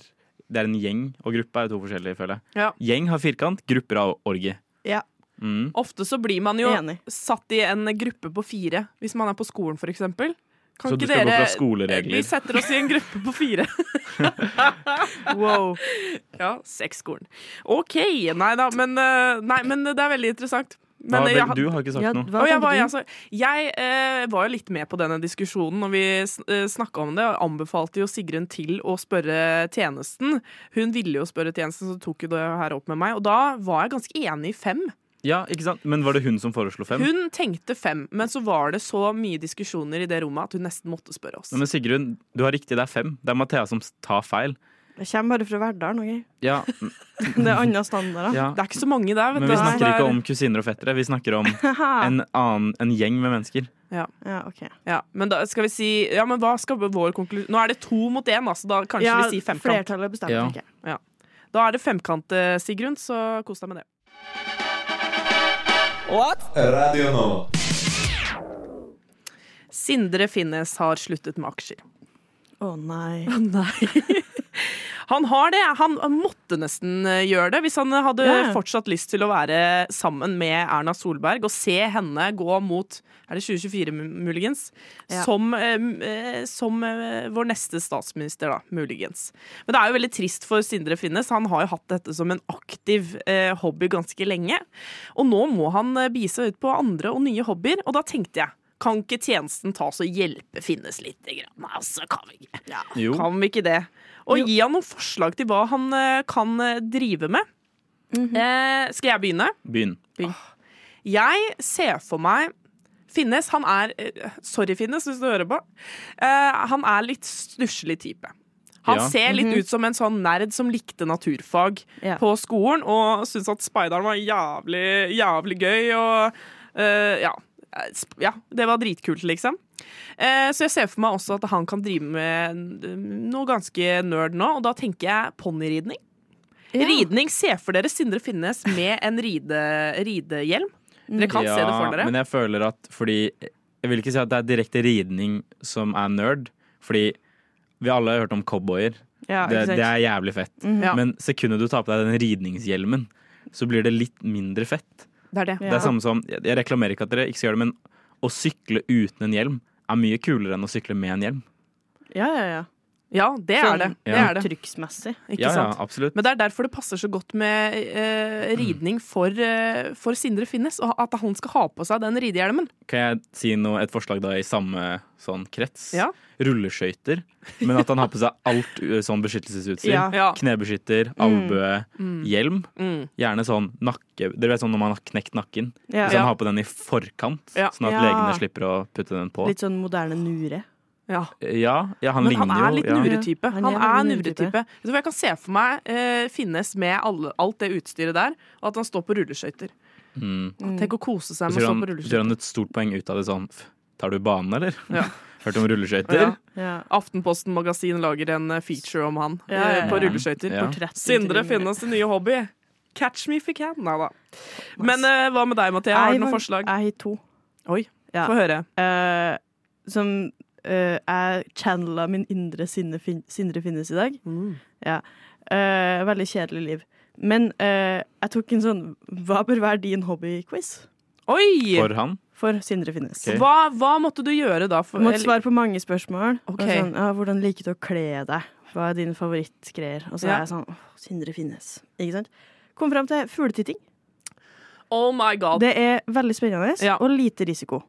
[SPEAKER 4] det er en gjeng, og gruppe er jo to forskjellige, føler jeg.
[SPEAKER 1] Ja.
[SPEAKER 4] Gjeng har firkant, grupper har orgie.
[SPEAKER 2] Ja.
[SPEAKER 4] Mm.
[SPEAKER 1] Ofte så blir man jo
[SPEAKER 2] Enig.
[SPEAKER 1] satt i en gruppe på fire, hvis man er på skolen, for eksempel. Kan
[SPEAKER 4] Så
[SPEAKER 1] ikke
[SPEAKER 4] du skal gå
[SPEAKER 1] dere-
[SPEAKER 4] fra skoleregler?
[SPEAKER 1] Vi setter oss i en gruppe på fire.
[SPEAKER 2] Wow.
[SPEAKER 1] Ja, sexskolen. OK. Nei da, men, eh, nei, men det er veldig interessant. Men
[SPEAKER 4] Hva,
[SPEAKER 1] eh, jeg
[SPEAKER 4] vel,
[SPEAKER 1] had-
[SPEAKER 4] du har ikke sagt
[SPEAKER 2] Ja,
[SPEAKER 4] noe.
[SPEAKER 2] hva
[SPEAKER 1] Og jeg, var,
[SPEAKER 2] tenker du?
[SPEAKER 1] altså, jeg eh, var jo litt med på denne diskusjonen når vi uh, snakka om det, og anbefalte jo Sigrun til å spørre tjenesten. Hun ville jo spørre tjenesten, så tok hun det her opp med meg. Og da var jeg ganske enig i fem.
[SPEAKER 4] Ja, ikke sant? Men var det hun som foreslo fem?
[SPEAKER 1] Hun tenkte fem, men så var det så mye diskusjoner i det rommet at hun nesten måtte spørre oss.
[SPEAKER 4] Nei, men Sigrun, du har riktig, det er fem. Det er Mathea som tar feil.
[SPEAKER 2] Jeg kommer bare fra Verdalen. ok?
[SPEAKER 4] Ja,
[SPEAKER 2] Det er andre standarder.
[SPEAKER 4] ja.
[SPEAKER 1] Det er ikke så mange der, vet
[SPEAKER 4] Men
[SPEAKER 1] du.
[SPEAKER 4] vi snakker
[SPEAKER 1] Det er-
[SPEAKER 4] ikke om kusiner og fettere, vi snakker om
[SPEAKER 2] Haha.
[SPEAKER 4] en, annen, en gjeng med mennesker.
[SPEAKER 2] Ja, ok.
[SPEAKER 1] ja, Men da skal vi si Ja, men hva skal vår konklusjon Nå er det to mot én, altså. Da kanskje
[SPEAKER 2] Ja,
[SPEAKER 1] vi sier femkant.
[SPEAKER 2] flertallet bestemmer,
[SPEAKER 4] Ja.
[SPEAKER 2] tenker jeg.
[SPEAKER 1] Da er det femkant, eh, Sigrun, så kos deg med det.
[SPEAKER 8] Radio Nova.
[SPEAKER 1] Sindre Finnes har sluttet med aksjer.
[SPEAKER 2] Å nei.
[SPEAKER 1] Han har det. Han måtte nesten eh, gjøre det hvis han hadde
[SPEAKER 2] Ja.
[SPEAKER 1] fortsatt lyst til å være sammen med Erna Solberg og se henne gå mot Er det 2024, mu- muligens?
[SPEAKER 2] Ja.
[SPEAKER 1] Som, eh, m- eh, som eh, vår neste statsminister, da. Muligens. Men det er jo veldig trist for Sindre Finnes. Han har jo hatt dette som en aktiv eh, hobby ganske lenge. Og nå må han eh, begi seg ut på andre og nye hobbyer, og da tenkte jeg kan ikke tjenesten ta oss og hjelpe Finnes lite grann? Nei, altså, kan vi ikke?
[SPEAKER 4] Jo.
[SPEAKER 1] Kan vi ikke det? Og gi han noen forslag til hva han eh, kan eh, drive med. eh, skal jeg begynne?
[SPEAKER 4] Begynn.
[SPEAKER 1] Jeg ser for meg Finnes, han er eh, Sorry, Finnes, hvis du hører på. Eh, han er litt stusslig type. Han
[SPEAKER 4] Ja.
[SPEAKER 1] ser litt ut som en sånn nerd som likte naturfag
[SPEAKER 2] Ja.
[SPEAKER 1] på skolen, og syntes at speideren var jævlig, jævlig gøy, og eh, ja. Eh, sp- Ja, det var dritkult, liksom. Eh, Så jeg ser for meg også at han kan drive med eh, noe ganske nerd nå, og da tenker jeg ponniridning. Ridning. Se for dere Sindre Finnes med en ride, ridehjelm. Dere kan se det for dere.
[SPEAKER 4] Men jeg føler at fordi Jeg vil ikke si at det er direkte ridning som er nerd, fordi vi alle har hørt om cowboyer.
[SPEAKER 2] Ja,
[SPEAKER 4] det,
[SPEAKER 2] ikke sant?
[SPEAKER 4] det er jævlig fett.
[SPEAKER 1] Mhm. Ja.
[SPEAKER 4] Men sekundet du tar på deg den ridningshjelmen, så blir det litt mindre fett.
[SPEAKER 1] Det er det.
[SPEAKER 4] Det er samme som, Jeg jeg reklamerer ikke at dere ikke skal gjøre det, men å sykle uten en hjelm er mye kulere enn å sykle med en hjelm.
[SPEAKER 2] Ja, ja, ja.
[SPEAKER 1] Ja, det er det. det,
[SPEAKER 4] Sånn, Ja.
[SPEAKER 1] er det.
[SPEAKER 2] Trykksmessig.
[SPEAKER 1] Ikke
[SPEAKER 4] Ja, ja,
[SPEAKER 1] sant?
[SPEAKER 4] absolutt.
[SPEAKER 1] Men det er derfor det passer så godt med eh,
[SPEAKER 4] Mm.
[SPEAKER 1] ridning for, eh, for Sindre Finnes, og at han skal ha på seg den ridehjelmen.
[SPEAKER 4] Kan jeg si noe, et forslag da i samme sånn krets?
[SPEAKER 1] Ja.
[SPEAKER 4] Rulleskøyter. Men at han har på seg alt uh, sånn beskyttelsesutstyr.
[SPEAKER 2] Ja.
[SPEAKER 1] Ja.
[SPEAKER 4] Knebeskytter, albue, hjelm.
[SPEAKER 1] Mm.
[SPEAKER 4] Gjerne sånn nakke... Dere vet sånn når man har knekt nakken.
[SPEAKER 2] Ja.
[SPEAKER 4] Hvis han har på den i forkant,
[SPEAKER 1] Ja.
[SPEAKER 4] sånn at
[SPEAKER 2] Ja.
[SPEAKER 4] legene slipper å putte den på.
[SPEAKER 2] Litt sånn moderne nure.
[SPEAKER 1] Ja.
[SPEAKER 4] Ja, ja han
[SPEAKER 1] Men han
[SPEAKER 4] ligner
[SPEAKER 1] er
[SPEAKER 4] jo.
[SPEAKER 1] litt
[SPEAKER 4] ja.
[SPEAKER 1] nuretype.
[SPEAKER 2] Han
[SPEAKER 1] Han,
[SPEAKER 2] er
[SPEAKER 1] er
[SPEAKER 2] veldig nuretype.
[SPEAKER 1] nuretype. Vet du hva, Jeg kan se for meg eh, Finnes med alle, alt det utstyret der, og at han står på rulleskøyter.
[SPEAKER 4] Mm.
[SPEAKER 1] Tenk å kose seg
[SPEAKER 4] Så
[SPEAKER 1] med å
[SPEAKER 4] gjør
[SPEAKER 1] stå
[SPEAKER 4] han,
[SPEAKER 1] på
[SPEAKER 4] så gjør
[SPEAKER 1] rulleskøyter.
[SPEAKER 4] han et stort poeng ut av det sånn "F, Tar du banen, eller?
[SPEAKER 1] Ja.
[SPEAKER 4] Hørt om rulleskøyter?
[SPEAKER 1] Ja.
[SPEAKER 2] Ja.
[SPEAKER 1] Aftenposten Magasin lager en eh, feature om han
[SPEAKER 2] Ja, ja,
[SPEAKER 1] eh, på
[SPEAKER 4] ja.
[SPEAKER 1] rulleskøyter.
[SPEAKER 4] Ja.
[SPEAKER 2] Portrett-
[SPEAKER 1] Sindre Finnes' nye hobby. Catch me if you can. Nei da. Men eh, hva med deg, Mathea? Har du
[SPEAKER 2] Jeg
[SPEAKER 1] noen
[SPEAKER 2] var-
[SPEAKER 1] forslag?
[SPEAKER 2] Jeg har to.
[SPEAKER 1] Oi,
[SPEAKER 2] Ja.
[SPEAKER 1] få høre.
[SPEAKER 2] Eh, som eh, jeg channela min indre sinne fin Sindre Finnes i dag.
[SPEAKER 1] Mm.
[SPEAKER 2] Ja. Eh, veldig kjedelig liv. Men eh, jeg tok en sånn Hva bør være din hobby-quiz
[SPEAKER 1] Oi!
[SPEAKER 4] For han?
[SPEAKER 2] for Sindre Finnes?
[SPEAKER 4] Ok.
[SPEAKER 1] Hva, hva måtte du gjøre da? For,
[SPEAKER 2] Du måtte
[SPEAKER 1] eller-
[SPEAKER 2] svare på mange spørsmål. Og
[SPEAKER 1] Ok.
[SPEAKER 2] Sånn, ja, hvordan liker du å kle deg? Hva er dine favorittgreier? Og så
[SPEAKER 1] Ja.
[SPEAKER 2] er jeg sånn åh, Sindre Finnes. Ikke sant? Kom fram til fugletitting.
[SPEAKER 1] Oh my god. Det,
[SPEAKER 2] Det er veldig spennende
[SPEAKER 1] Ja.
[SPEAKER 2] og lite risiko.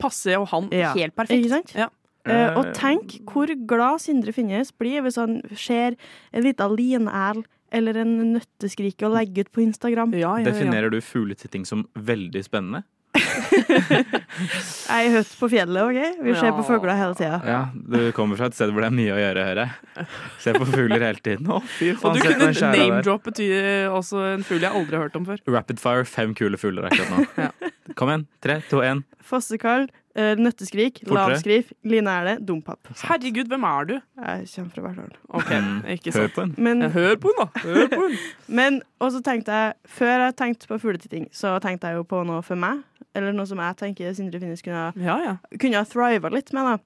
[SPEAKER 1] passer jo han
[SPEAKER 2] Ja.
[SPEAKER 1] helt perfekt.
[SPEAKER 2] Ikke sant?
[SPEAKER 1] Ja.
[SPEAKER 2] Eh, og tenk hvor glad Sindre Finnes blir hvis han ser en lita lineæl eller en nøtteskrike og legger ut på Instagram.
[SPEAKER 1] Ja, ja, ja.
[SPEAKER 4] Definerer du fugletitting som veldig spennende?
[SPEAKER 2] Jeg er høyt på fjellet, OK? Vi ser
[SPEAKER 1] Ja.
[SPEAKER 2] på fugler hele tida.
[SPEAKER 4] Ja, du kommer fra et sted hvor det er mye å gjøre, hører jeg. Se på fugler hele tiden. Å, fy
[SPEAKER 1] Og
[SPEAKER 4] faen,
[SPEAKER 1] du
[SPEAKER 4] se på
[SPEAKER 1] kunne
[SPEAKER 4] den skjæra der.
[SPEAKER 1] name-droppe ty- også en fugl jeg aldri har hørt om før.
[SPEAKER 4] Rapid fire, fem kule fugler akkurat nå. Kom igjen. Tre, to, én.
[SPEAKER 2] Fossekarl, eh, nøtteskrik,
[SPEAKER 4] Fortere.
[SPEAKER 2] lavskriv, lineæle, dompap.
[SPEAKER 1] Herregud, hvem er du?
[SPEAKER 2] Jeg kommer fra Verdal.
[SPEAKER 1] Ok, ikke
[SPEAKER 4] Hør
[SPEAKER 1] sant.
[SPEAKER 4] på den.
[SPEAKER 2] Men
[SPEAKER 1] Ja, Hør på den, da! Hør på den.
[SPEAKER 2] Men og så tenkte jeg, før jeg tenkte på fugletitting, så tenkte jeg jo på noe for meg. Eller noe som jeg tenker Sindre Finnes kunne, ha-
[SPEAKER 1] Ja, ja.
[SPEAKER 2] kunne ha thriva litt med. da.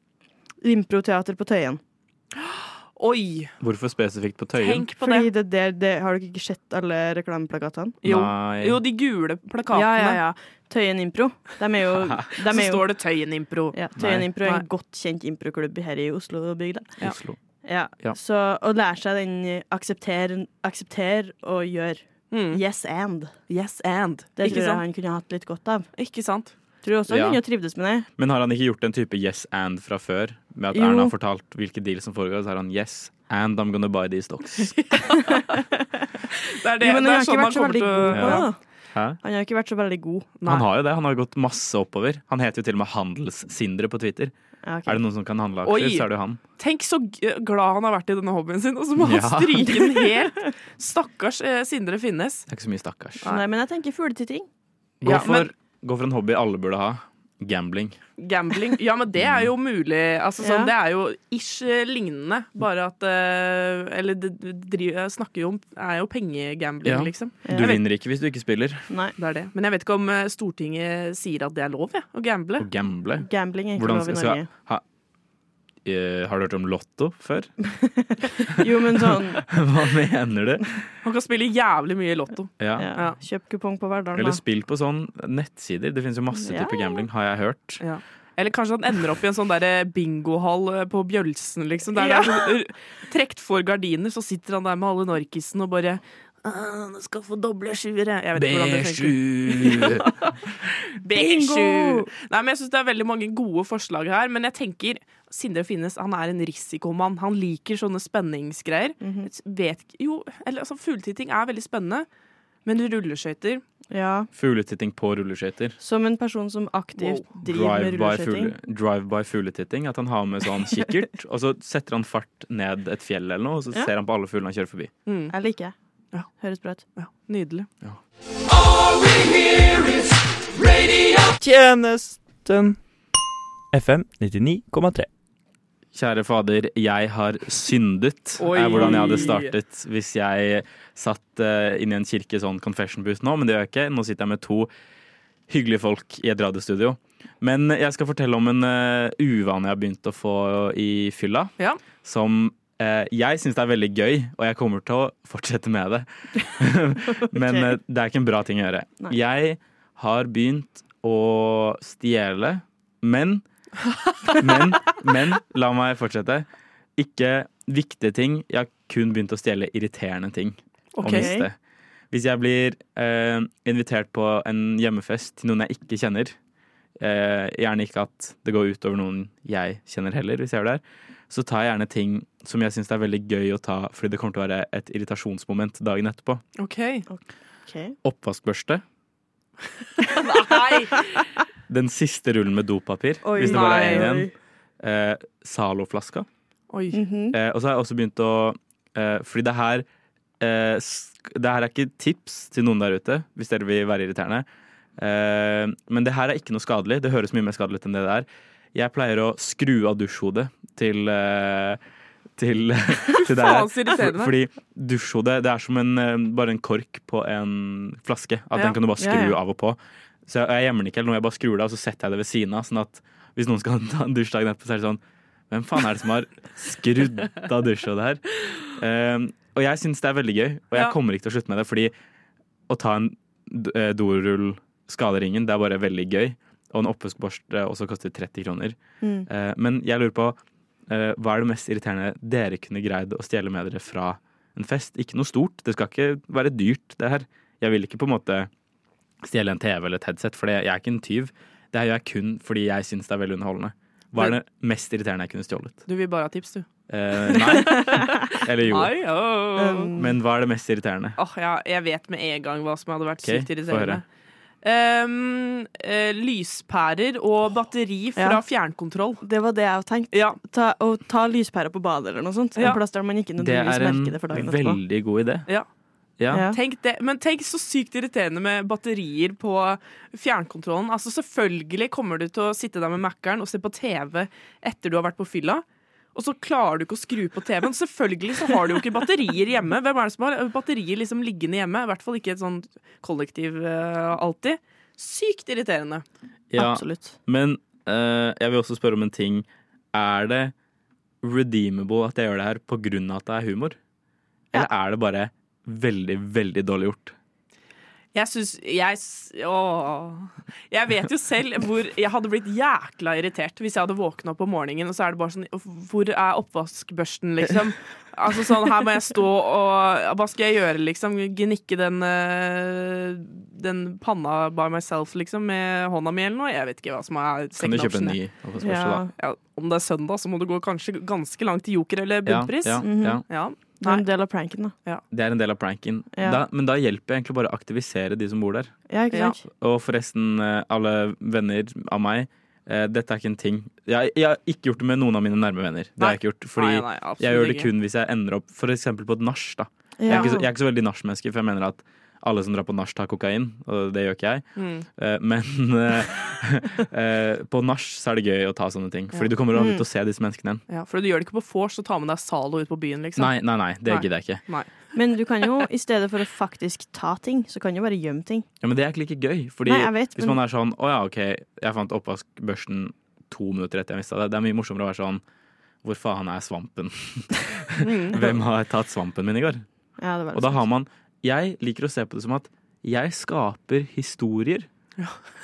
[SPEAKER 2] Improteater på Tøyen.
[SPEAKER 1] Oi,
[SPEAKER 4] Hvorfor spesifikt på Tøyen?
[SPEAKER 1] tenk på
[SPEAKER 2] Fordi
[SPEAKER 1] det.
[SPEAKER 2] det der, det, Har dere ikke sett alle reklameplakatene?
[SPEAKER 1] Jo,
[SPEAKER 4] Nei.
[SPEAKER 1] jo de gule plakatene.
[SPEAKER 2] Ja, ja, ja. Tøyen Impro. De er jo, de
[SPEAKER 1] Så
[SPEAKER 2] er jo
[SPEAKER 1] står det Tøyen-impro.
[SPEAKER 2] ja, Tøyen
[SPEAKER 4] Nei.
[SPEAKER 2] Impro er
[SPEAKER 1] Nei.
[SPEAKER 2] en godt kjent improklubb her i Oslo-bygda.
[SPEAKER 1] Ja.
[SPEAKER 4] Oslo.
[SPEAKER 2] Ja.
[SPEAKER 4] Ja.
[SPEAKER 2] Så å lære seg den eh, aksepter, aksepter og gjør.
[SPEAKER 1] Mm.
[SPEAKER 2] Yes and.
[SPEAKER 1] Yes and.
[SPEAKER 2] Det tror
[SPEAKER 1] ikke,
[SPEAKER 2] jeg
[SPEAKER 1] sant?
[SPEAKER 2] han kunne hatt litt godt av.
[SPEAKER 1] ikke sant?
[SPEAKER 2] Tror også han
[SPEAKER 4] Ja.
[SPEAKER 2] kunne trivdes med det.
[SPEAKER 4] Men har han ikke gjort en type yes and fra før? Med at
[SPEAKER 2] Jo.
[SPEAKER 4] Erna har fortalt hvilke deal som foregår, så er han yes and I'm gonna buy these stocks.
[SPEAKER 1] Det er, det,
[SPEAKER 2] Jo, men han
[SPEAKER 1] det er
[SPEAKER 2] har ikke
[SPEAKER 1] sånn han
[SPEAKER 2] vært så
[SPEAKER 1] kommer
[SPEAKER 2] veldig
[SPEAKER 1] til å
[SPEAKER 2] god på det.
[SPEAKER 1] ja.
[SPEAKER 2] da.
[SPEAKER 4] Hæ?
[SPEAKER 2] Han har ikke vært så veldig god.
[SPEAKER 1] Nei.
[SPEAKER 4] Han har jo det. Han har gått masse oppover. Han heter jo til og med Handels-Sindre på Twitter.
[SPEAKER 2] Ja, ok.
[SPEAKER 4] Er det noen som kan handle
[SPEAKER 1] Oi.
[SPEAKER 4] aksjer, så er det jo han.
[SPEAKER 1] Tenk så g- glad han har vært i denne hobbyen sin, og så må han
[SPEAKER 4] Ja.
[SPEAKER 1] stryke den helt! Stakkars eh, Sindre Finnes.
[SPEAKER 4] Det er ikke så mye stakkars.
[SPEAKER 2] Nei, men jeg tenker fugletitting.
[SPEAKER 4] Gå,
[SPEAKER 1] Ja,
[SPEAKER 4] for,
[SPEAKER 1] men-
[SPEAKER 4] gå for en hobby alle burde ha. Gambling.
[SPEAKER 1] Gambling. Ja, men det er jo mulig. Altså, sånn,
[SPEAKER 2] Ja.
[SPEAKER 1] Det er jo ish eh, lignende, bare at eh, Eller det det driver, jeg snakker jo om er jo pengegambling,
[SPEAKER 4] Ja.
[SPEAKER 1] liksom.
[SPEAKER 4] Du
[SPEAKER 1] Jeg vet-
[SPEAKER 4] vinner ikke hvis du ikke spiller.
[SPEAKER 2] Nei,
[SPEAKER 1] Det er det. Men jeg vet ikke om eh, Stortinget sier at det er lov, jeg, å gamble.
[SPEAKER 4] Å gamble.
[SPEAKER 2] gambling er ikke
[SPEAKER 4] Hvordan
[SPEAKER 2] lov i
[SPEAKER 4] skal-
[SPEAKER 2] Norge.
[SPEAKER 4] Ha, Eh, har du hørt om Lotto før?
[SPEAKER 2] Jo, men sånn
[SPEAKER 4] Hva mener du?
[SPEAKER 1] Han kan spille jævlig mye lotto.
[SPEAKER 4] Ja.
[SPEAKER 2] ja. Kjøp kupong på Verdal,
[SPEAKER 4] Eller
[SPEAKER 2] da.
[SPEAKER 4] spill på sånn nettsider. Det finnes jo masse
[SPEAKER 2] Ja,
[SPEAKER 4] typer gambling, har jeg hørt.
[SPEAKER 1] Ja. Eller kanskje han ender opp i en sånn der bingohall eh, på Bjølsen, liksom. Der det er sånn, r- trekt for gardiner, så sitter han der med alle narkisene og bare «Ah, du skal få doble sjuere. Jeg vet ikke hvordan det funker.
[SPEAKER 4] B7!
[SPEAKER 1] Bingo! Nei, men jeg synes Det er veldig mange gode forslag her, men jeg tenker Sindre Finnes han er en risikomann. Han liker sånne spenningsgreier. Vet ikke- Jo, eller altså, Fugletitting er veldig spennende, men rulleskøyter
[SPEAKER 2] Ja.
[SPEAKER 4] Fugletitting på rulleskøyter.
[SPEAKER 2] Som en person som aktivt driver med
[SPEAKER 4] Drive-by
[SPEAKER 2] rulleskøyting.
[SPEAKER 4] fugle- drive-by fugletitting. At han har med sånn kikkert, og så setter han fart ned et fjell eller noe, og så
[SPEAKER 2] Ja.
[SPEAKER 4] ser han på alle fuglene han kjører forbi.
[SPEAKER 2] Mm. Jeg liker det.
[SPEAKER 1] Ja.
[SPEAKER 2] Høres bra ut.
[SPEAKER 1] ja, Nydelig.
[SPEAKER 9] Tjenesten. FM 99,3.
[SPEAKER 4] Kjære fader, jeg har syndet,
[SPEAKER 1] Oi.
[SPEAKER 4] er hvordan jeg hadde startet hvis jeg satt uh, inne i en kirke sånn confession booth nå, men det gjør jeg ikke. Nå sitter jeg med to hyggelige folk i et radiostudio. Men jeg skal fortelle om en eh, uvane jeg har begynt å få i fylla,
[SPEAKER 1] Ja.
[SPEAKER 4] som eh, jeg syns er veldig gøy, og jeg kommer til å fortsette med det. men
[SPEAKER 2] Ok.
[SPEAKER 4] eh, det er ikke en bra ting å gjøre.
[SPEAKER 2] Nei.
[SPEAKER 4] Jeg har begynt å stjele, men men, men la meg fortsette. ikke viktige ting. Jeg har kun begynt å stjele irriterende ting. og miste. Hvis jeg blir eh, invitert på en hjemmefest til noen jeg ikke kjenner, eh, gjerne ikke at det går ut over noen jeg kjenner heller, hvis jeg er der, så tar jeg gjerne ting som jeg syns er veldig gøy å ta fordi det kommer til å være et irritasjonsmoment dagen etterpå.
[SPEAKER 1] OK.
[SPEAKER 2] Ok.
[SPEAKER 4] Oppvaskbørste.
[SPEAKER 1] Nei!
[SPEAKER 4] Den siste rullen med dopapir,
[SPEAKER 2] Oi,
[SPEAKER 4] hvis det bare er
[SPEAKER 1] nei,
[SPEAKER 4] én igjen. Eh, Zalo-flaska.
[SPEAKER 1] Oi.
[SPEAKER 2] Mhm.
[SPEAKER 4] Eh, og så har jeg også begynt å eh, Fordi det her eh, sk- Det her er ikke tips til noen der ute, hvis dere vil være irriterende. Eh, men det her er ikke noe skadelig. Det høres mye mer skadelig ut enn det det er. Jeg pleier å skru av dusjhodet til eh, til, til det her.
[SPEAKER 1] faen, så irriterende.
[SPEAKER 4] fordi dusjhodet det er som en, eh, bare en kork på en flaske. At
[SPEAKER 1] Ja.
[SPEAKER 4] den kan du bare
[SPEAKER 2] Ja,
[SPEAKER 4] skru
[SPEAKER 2] ja.
[SPEAKER 4] av og på. Så jeg, jeg gjemmer den ikke, eller noe, jeg bare skrur det av og så setter jeg det ved siden av. Sånn at hvis noen skal ta en dusj dagen etterpå, så er det sånn Hvem faen er det som har skrudd av dusjhodet her? Ehm, og jeg syns det er veldig gøy, og jeg
[SPEAKER 1] Ja.
[SPEAKER 4] kommer ikke til å slutte med det. Fordi å ta en d- eh, dorull skaderingen, det er bare veldig gøy. Og en oppvaskbørste også koster 30 kroner.
[SPEAKER 2] Mm.
[SPEAKER 4] Eh, men jeg lurer på eh, hva er det mest irriterende dere kunne greid å stjele med dere fra en fest? Ikke noe stort, det skal ikke være dyrt, det her. Jeg vil ikke på en måte stjele en TV eller et headset, for det- jeg er ikke en tyv. Det her gjør jeg kun fordi jeg syns det er veldig underholdende. Hva er det mest irriterende jeg kunne stjålet?
[SPEAKER 1] Du vil bare ha tips, du.
[SPEAKER 4] Eh, nei. Eller jo.
[SPEAKER 1] Ai, åh.
[SPEAKER 2] Um,
[SPEAKER 4] Men hva er det mest irriterende?
[SPEAKER 1] Åh, ja, jeg vet med en gang hva som hadde vært
[SPEAKER 4] Ok,
[SPEAKER 1] sykt
[SPEAKER 4] få høre.
[SPEAKER 1] irriterende. Um, eh, lyspærer og batteri fra
[SPEAKER 2] Ja.
[SPEAKER 1] fjernkontroll.
[SPEAKER 2] det var det jeg hadde tenkt.
[SPEAKER 1] Ja.
[SPEAKER 2] Ta, å ta lyspæra på badet eller noe sånt.
[SPEAKER 1] Ja.
[SPEAKER 2] En plass der man ikke
[SPEAKER 4] Det
[SPEAKER 2] nødvendigvis
[SPEAKER 4] er en
[SPEAKER 2] merker det for dagen etterpå.
[SPEAKER 4] veldig god idé.
[SPEAKER 1] Ja.
[SPEAKER 4] Ja.
[SPEAKER 2] Ja.
[SPEAKER 1] Tenk det. Men tenk så sykt irriterende med batterier på fjernkontrollen. Altså Selvfølgelig kommer du til å sitte der med Mac-eren og se på TV etter du har vært på fylla. Og så klarer du ikke å skru på TV-en. Selvfølgelig så har du jo ikke batterier hjemme. Hvem er det som har batterier liksom liggende hjemme? I hvert fall ikke et sånn kollektiv eh, alltid. Sykt irriterende.
[SPEAKER 4] Ja,
[SPEAKER 2] Absolutt.
[SPEAKER 4] Men eh, jeg vil også spørre om en ting. Er det redeemable at jeg gjør det her på grunn av at det er humor? Eller er det bare veldig, veldig dårlig gjort?
[SPEAKER 1] Jeg syns jeg, s- åh. jeg vet jo selv hvor Jeg hadde blitt jækla irritert hvis jeg hadde våkna opp om morgenen, og så er det bare sånn Hvor er oppvaskbørsten, liksom? Altså sånn, Her må jeg stå og Hva skal jeg gjøre, liksom? Gnikke den, eh, den panna by myself, liksom, med hånda mi, eller noe? Jeg vet ikke hva som er
[SPEAKER 4] Kan du
[SPEAKER 1] second
[SPEAKER 4] kjøpe en
[SPEAKER 1] option.
[SPEAKER 4] ny?
[SPEAKER 1] jeg.
[SPEAKER 4] oppvaskbørste,
[SPEAKER 2] Ja.
[SPEAKER 4] da?
[SPEAKER 1] Ja, om det er søndag, så må du gå kanskje ganske langt til Joker eller
[SPEAKER 4] Ja,
[SPEAKER 1] bunnpris. Mm.
[SPEAKER 4] ja,
[SPEAKER 2] Mhm.
[SPEAKER 4] ja.
[SPEAKER 1] Ja.
[SPEAKER 2] Det er en del av pranken, da.
[SPEAKER 4] Det er en del av pranken.
[SPEAKER 2] Ja.
[SPEAKER 4] Da, men da hjelper jeg egentlig bare å aktivisere de som bor der.
[SPEAKER 2] Ja, ikke
[SPEAKER 1] Ja.
[SPEAKER 2] sant?
[SPEAKER 4] Og forresten, eh, alle venner av meg, eh, dette er ikke en ting jeg, jeg har ikke gjort det med noen av mine nærme venner. Det har jeg ikke gjort, fordi
[SPEAKER 1] Nei, nei, absolutt
[SPEAKER 4] jeg gjør det
[SPEAKER 1] ikke.
[SPEAKER 4] kun hvis jeg ender opp for eksempel på et nach. da. Jeg,
[SPEAKER 2] Ja.
[SPEAKER 4] er ikke så, jeg er ikke så veldig nachmenneske, for jeg mener at alle som drar på nach, tar kokain. Og det gjør ikke jeg.
[SPEAKER 1] Mm.
[SPEAKER 4] Eh, Men eh, eh, på nach så er det gøy å ta sånne ting. Fordi du kommer
[SPEAKER 1] Mm.
[SPEAKER 4] aldri til å se disse menneskene igjen.
[SPEAKER 1] Ja, for du gjør det ikke på vors og tar med deg Zalo ut på byen, liksom.
[SPEAKER 4] Nei, nei, nei, det
[SPEAKER 1] Nei.
[SPEAKER 4] gidder jeg ikke.
[SPEAKER 1] Nei.
[SPEAKER 2] Men du kan jo, i stedet for å faktisk ta ting, så kan du bare gjemme ting.
[SPEAKER 4] Ja, Men det er ikke like gøy. Fordi
[SPEAKER 2] Nei, jeg vet,
[SPEAKER 4] hvis
[SPEAKER 2] men-
[SPEAKER 4] man er sånn Å ja, OK, jeg fant oppvaskbørsten to minutter etter jeg mista det. Det er mye morsommere å være sånn Hvor faen er svampen? Hvem har tatt svampen min i går?
[SPEAKER 2] Mm. Ja, det var
[SPEAKER 4] Og da har man Jeg liker å se på det som at jeg skaper historier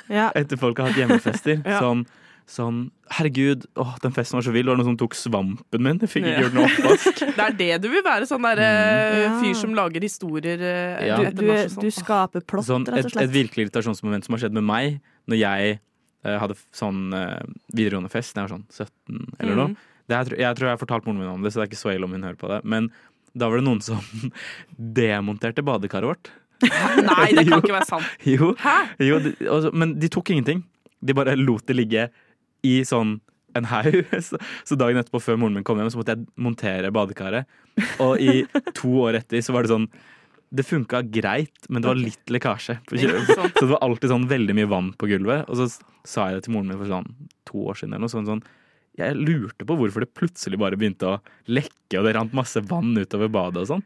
[SPEAKER 2] ja.
[SPEAKER 4] etter folk har hatt hjemmefester.
[SPEAKER 1] Ja.
[SPEAKER 4] sånn, sånn Herregud, åh, den festen var så vill. Det var noen som tok svampen min. Jeg fikk ikke
[SPEAKER 1] Ja.
[SPEAKER 4] gjort noe oppvask.
[SPEAKER 1] Det er det du vil være, sånn der eh,
[SPEAKER 2] Ja.
[SPEAKER 1] fyr som lager historier eh,
[SPEAKER 4] Ja.
[SPEAKER 2] Du,
[SPEAKER 1] etter
[SPEAKER 2] du,
[SPEAKER 1] nach og sånn.
[SPEAKER 2] du skaper plott,
[SPEAKER 4] sånn,
[SPEAKER 2] rett
[SPEAKER 4] et,
[SPEAKER 2] og slett.
[SPEAKER 4] et virkelig irritasjonsmoment som har skjedd med meg når jeg eh, hadde f- sånn eh, videregående fest da jeg var sånn 17 eller
[SPEAKER 1] Mm.
[SPEAKER 4] noe. Det her, tro- jeg tror jeg har fortalt moren min om det, så det er ikke så ille om hun hører på det. Men da var det noen som demonterte badekaret vårt.
[SPEAKER 1] Nei, det kan ikke være sant.
[SPEAKER 4] Jo,
[SPEAKER 1] Hæ?
[SPEAKER 4] jo de, altså, Men de tok ingenting. De bare lot det ligge i sånn en haug. Så, så dagen etterpå, før moren min kom hjem, så måtte jeg montere badekaret. Og i to år etter så var det sånn Det funka greit, men det var litt lekkasje. På kjø-
[SPEAKER 1] Ikke sant.
[SPEAKER 4] så det var alltid sånn veldig mye vann på gulvet. Og så s- sa jeg det til moren min for sånn to år siden eller noe sånn. sånn jeg lurte på hvorfor det plutselig bare begynte å lekke, og det rant masse vann utover badet og sånn.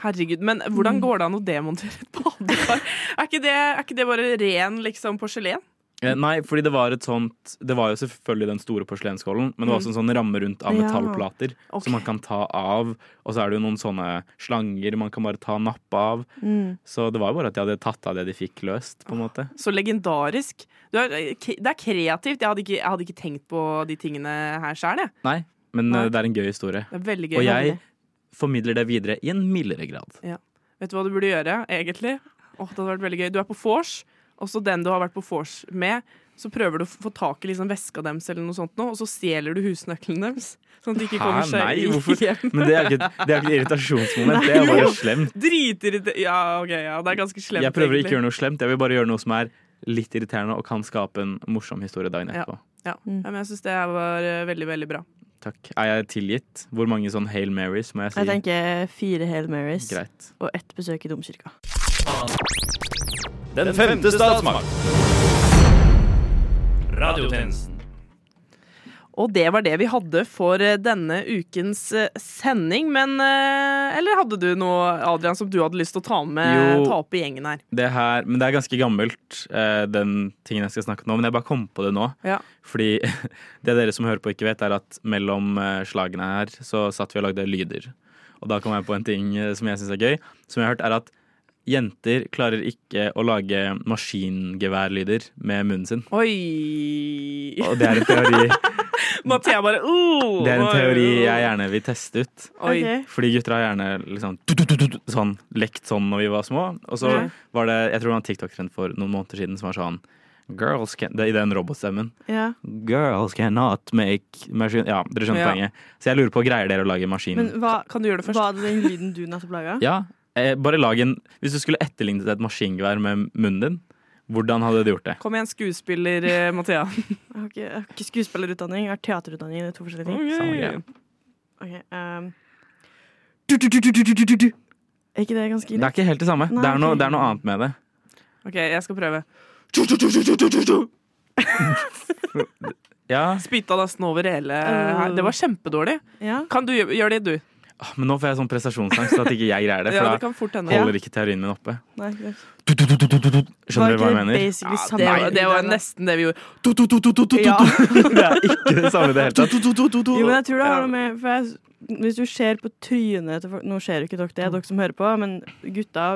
[SPEAKER 1] Herregud, men hvordan går det an å demontere et badekar? Er ikke det, er ikke det bare ren liksom, porselen?
[SPEAKER 4] Eh, Nei, fordi det var et sånt Det var jo selvfølgelig den store porselensskålen, men det var også en sånn ramme rundt av
[SPEAKER 2] Ja.
[SPEAKER 4] metallplater
[SPEAKER 1] Mm. Ok.
[SPEAKER 4] som man kan ta av. Og så er det jo noen sånne slanger man kan bare ta napp av.
[SPEAKER 2] Mm.
[SPEAKER 4] Så det var jo bare at de hadde tatt av det de fikk løst, på en måte.
[SPEAKER 1] Så eh, legendarisk. Du er, det er kreativt. Jeg hadde, ikke, jeg hadde ikke tenkt på de tingene her sjøl, jeg.
[SPEAKER 4] Nei, Men
[SPEAKER 1] Nei.
[SPEAKER 4] eh, det er en gøy historie.
[SPEAKER 1] Det er veldig gøy.
[SPEAKER 4] Og jeg formidler det videre i en mildere grad.
[SPEAKER 1] Vet du hva du burde gjøre, egentlig? Åh, det hadde vært veldig gøy. Du er på vors, og så den du har vært på vors med, så prøver du å få tak i liksom veska deres, eller noe sånt nå, og så stjeler du husnøkkelen deres. Sånn at de ikke kommer
[SPEAKER 4] Hæ?
[SPEAKER 1] seg
[SPEAKER 4] Nei, hvorfor?
[SPEAKER 1] hjem.
[SPEAKER 4] Men det er ikke, det er ikke et irritasjonsmoment. Det
[SPEAKER 1] Nei,
[SPEAKER 4] er bare
[SPEAKER 1] jo.
[SPEAKER 4] slemt.
[SPEAKER 1] Dritirriterende. Ja, OK, ja, det er ganske slemt.
[SPEAKER 4] Jeg prøver å ikke gjøre noe slemt. Jeg vil bare gjøre noe som er litt irriterende og kan skape en morsom historie dagen
[SPEAKER 1] Ja.
[SPEAKER 4] etterpå.
[SPEAKER 1] Ja. ja, men jeg syns det her var eh, veldig, veldig bra.
[SPEAKER 4] Takk. Er jeg tilgitt? Hvor mange sånn Hail Marys må jeg si?
[SPEAKER 2] Jeg tenker fire Hail Marys
[SPEAKER 4] Greit.
[SPEAKER 2] og ett besøk i domkirka.
[SPEAKER 9] Den femte statsmakt. Radiotjenesten.
[SPEAKER 1] Og det var det vi hadde for eh, denne ukens eh, sending. Men eh, Eller hadde du noe, Adrian, som du hadde lyst til å ta med
[SPEAKER 4] Jo.
[SPEAKER 1] Ta opp i gjengen her?
[SPEAKER 4] Det her, men det er ganske gammelt, eh, den tingen jeg skal snakke om nå. Men jeg bare kom på det nå.
[SPEAKER 1] Ja.
[SPEAKER 4] Fordi det dere som hører på ikke vet, er at mellom eh, slagene her så satt vi og lagde lyder. Og da kom jeg på en ting eh, som jeg syns er gøy, som jeg har hørt er at jenter klarer ikke å lage maskingeværlyder med munnen sin.
[SPEAKER 1] Oi!
[SPEAKER 4] Og det er en teori,
[SPEAKER 1] Mathea bare oh,
[SPEAKER 4] det er en teori jeg gjerne vil teste ut.
[SPEAKER 1] Oi.
[SPEAKER 2] Ok.
[SPEAKER 4] Fordi gutter har gjerne liksom tut-tut-tut, sånn, lekt sånn når vi var små. Og så
[SPEAKER 1] Ja.
[SPEAKER 4] var det jeg tror det var en TikTok-trend for noen måneder siden som var sånn Girls can, det, I den robotstemmen.
[SPEAKER 2] Ja.
[SPEAKER 4] Girls cannot make machine Ja, dere skjønner
[SPEAKER 1] Ja.
[SPEAKER 4] poenget. Så jeg lurer på, greier dere å lage maskin?
[SPEAKER 2] Men hva,
[SPEAKER 1] Kan du gjøre det først?
[SPEAKER 2] var det den lyden du nettopp laga?
[SPEAKER 4] ja, eh, bare lag en Hvis du skulle etterlignet et maskingevær med munnen din, hvordan hadde du gjort det?
[SPEAKER 1] Kom igjen, skuespiller eh, Mathea.
[SPEAKER 2] Jeg har ikke, jeg har ikke skuespillerutdanning, jeg har teaterutdanning. Det er to forskjellige
[SPEAKER 1] Mm.
[SPEAKER 2] ting.
[SPEAKER 4] Samme greie.
[SPEAKER 2] Ok, ehm. du, du, du, du, du, du, du, du. Er ikke det ganske
[SPEAKER 4] Det er
[SPEAKER 2] greit?
[SPEAKER 4] ikke helt det samme.
[SPEAKER 2] Nei,
[SPEAKER 4] det, er noe,
[SPEAKER 2] ok.
[SPEAKER 4] det er noe annet med det.
[SPEAKER 1] OK, jeg skal prøve.
[SPEAKER 4] Ja,
[SPEAKER 1] Spytta nesten over hele her. Det var kjempedårlig.
[SPEAKER 2] Ja.
[SPEAKER 1] Kan du gjø- gjøre det, du?
[SPEAKER 4] ah, Men nå får jeg sånn prestasjonsangst at ikke jeg greier det.
[SPEAKER 1] Ja,
[SPEAKER 4] For
[SPEAKER 1] det kan fort
[SPEAKER 4] da
[SPEAKER 1] hende.
[SPEAKER 4] holder ikke teorien min oppe.
[SPEAKER 2] Nei, greit. Var
[SPEAKER 4] Skjønner dere hva jeg
[SPEAKER 2] ikke det
[SPEAKER 4] mener?
[SPEAKER 1] Ja,
[SPEAKER 2] basically samme
[SPEAKER 1] det, var,
[SPEAKER 2] lyd
[SPEAKER 1] det var
[SPEAKER 2] der, da?
[SPEAKER 1] nesten det vi gjorde.
[SPEAKER 2] Ja.
[SPEAKER 4] Det er ikke det samme i det hele tatt.
[SPEAKER 2] Jo, men jeg tror det har noe med for jeg, Hvis du ser på trynet til folk Nå ser jo ikke dere det, dere som hører på, men gutta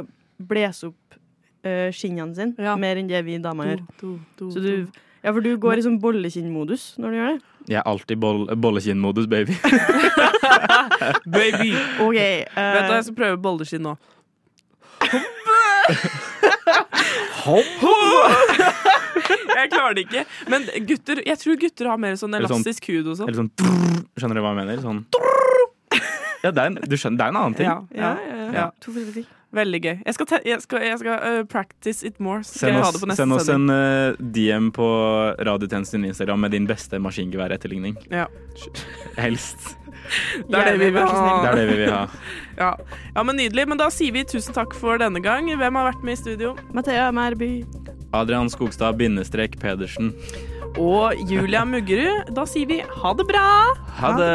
[SPEAKER 2] blåser opp eh, skinnene sine
[SPEAKER 1] Ja.
[SPEAKER 2] mer enn det vi damer gjør.
[SPEAKER 1] To, to,
[SPEAKER 2] Så du Ja, for du går i sånn bollekinnmodus når du gjør det.
[SPEAKER 4] Jeg er alltid boll bollekinn-modus, baby.
[SPEAKER 1] to. Baby!
[SPEAKER 2] OK. eh,
[SPEAKER 1] Vent, da, jeg skal prøve bolleskinn nå. Jeg klarer det ikke. Men gutter, jeg tror gutter har mer sånn
[SPEAKER 4] Eller sånn-
[SPEAKER 1] elastisk hud og sånn.
[SPEAKER 4] Eller sånn Skjønner dere hva jeg mener? Sånn ja, det er en, du skjønner, det er en annen ting.
[SPEAKER 1] Ja,
[SPEAKER 2] ja,
[SPEAKER 1] ja.
[SPEAKER 2] ja, ja.
[SPEAKER 4] Ja.
[SPEAKER 2] To forskjellige ting.
[SPEAKER 1] Veldig gøy. Jeg skal, te jeg skal, jeg skal eh, practice it more. Så skal
[SPEAKER 4] Send
[SPEAKER 1] jeg ta
[SPEAKER 4] oss,
[SPEAKER 1] det på neste
[SPEAKER 4] send oss
[SPEAKER 1] sending.
[SPEAKER 4] en eh, DM på radiotjenesten din Instagram med din beste maskingeværetterligning.
[SPEAKER 1] Ja.
[SPEAKER 4] Helst.
[SPEAKER 1] Det er det vi vil ha.
[SPEAKER 4] Det er det vi vil ha.
[SPEAKER 1] Ja. ja, men Nydelig. Men da sier vi tusen takk for denne gang. Hvem har vært med i studio?
[SPEAKER 2] Mathea Mærby.
[SPEAKER 4] Adrian Skogstad bindestrek Pedersen.
[SPEAKER 1] Og Julia Muggerud. Da sier vi ha det bra!
[SPEAKER 4] Ha det!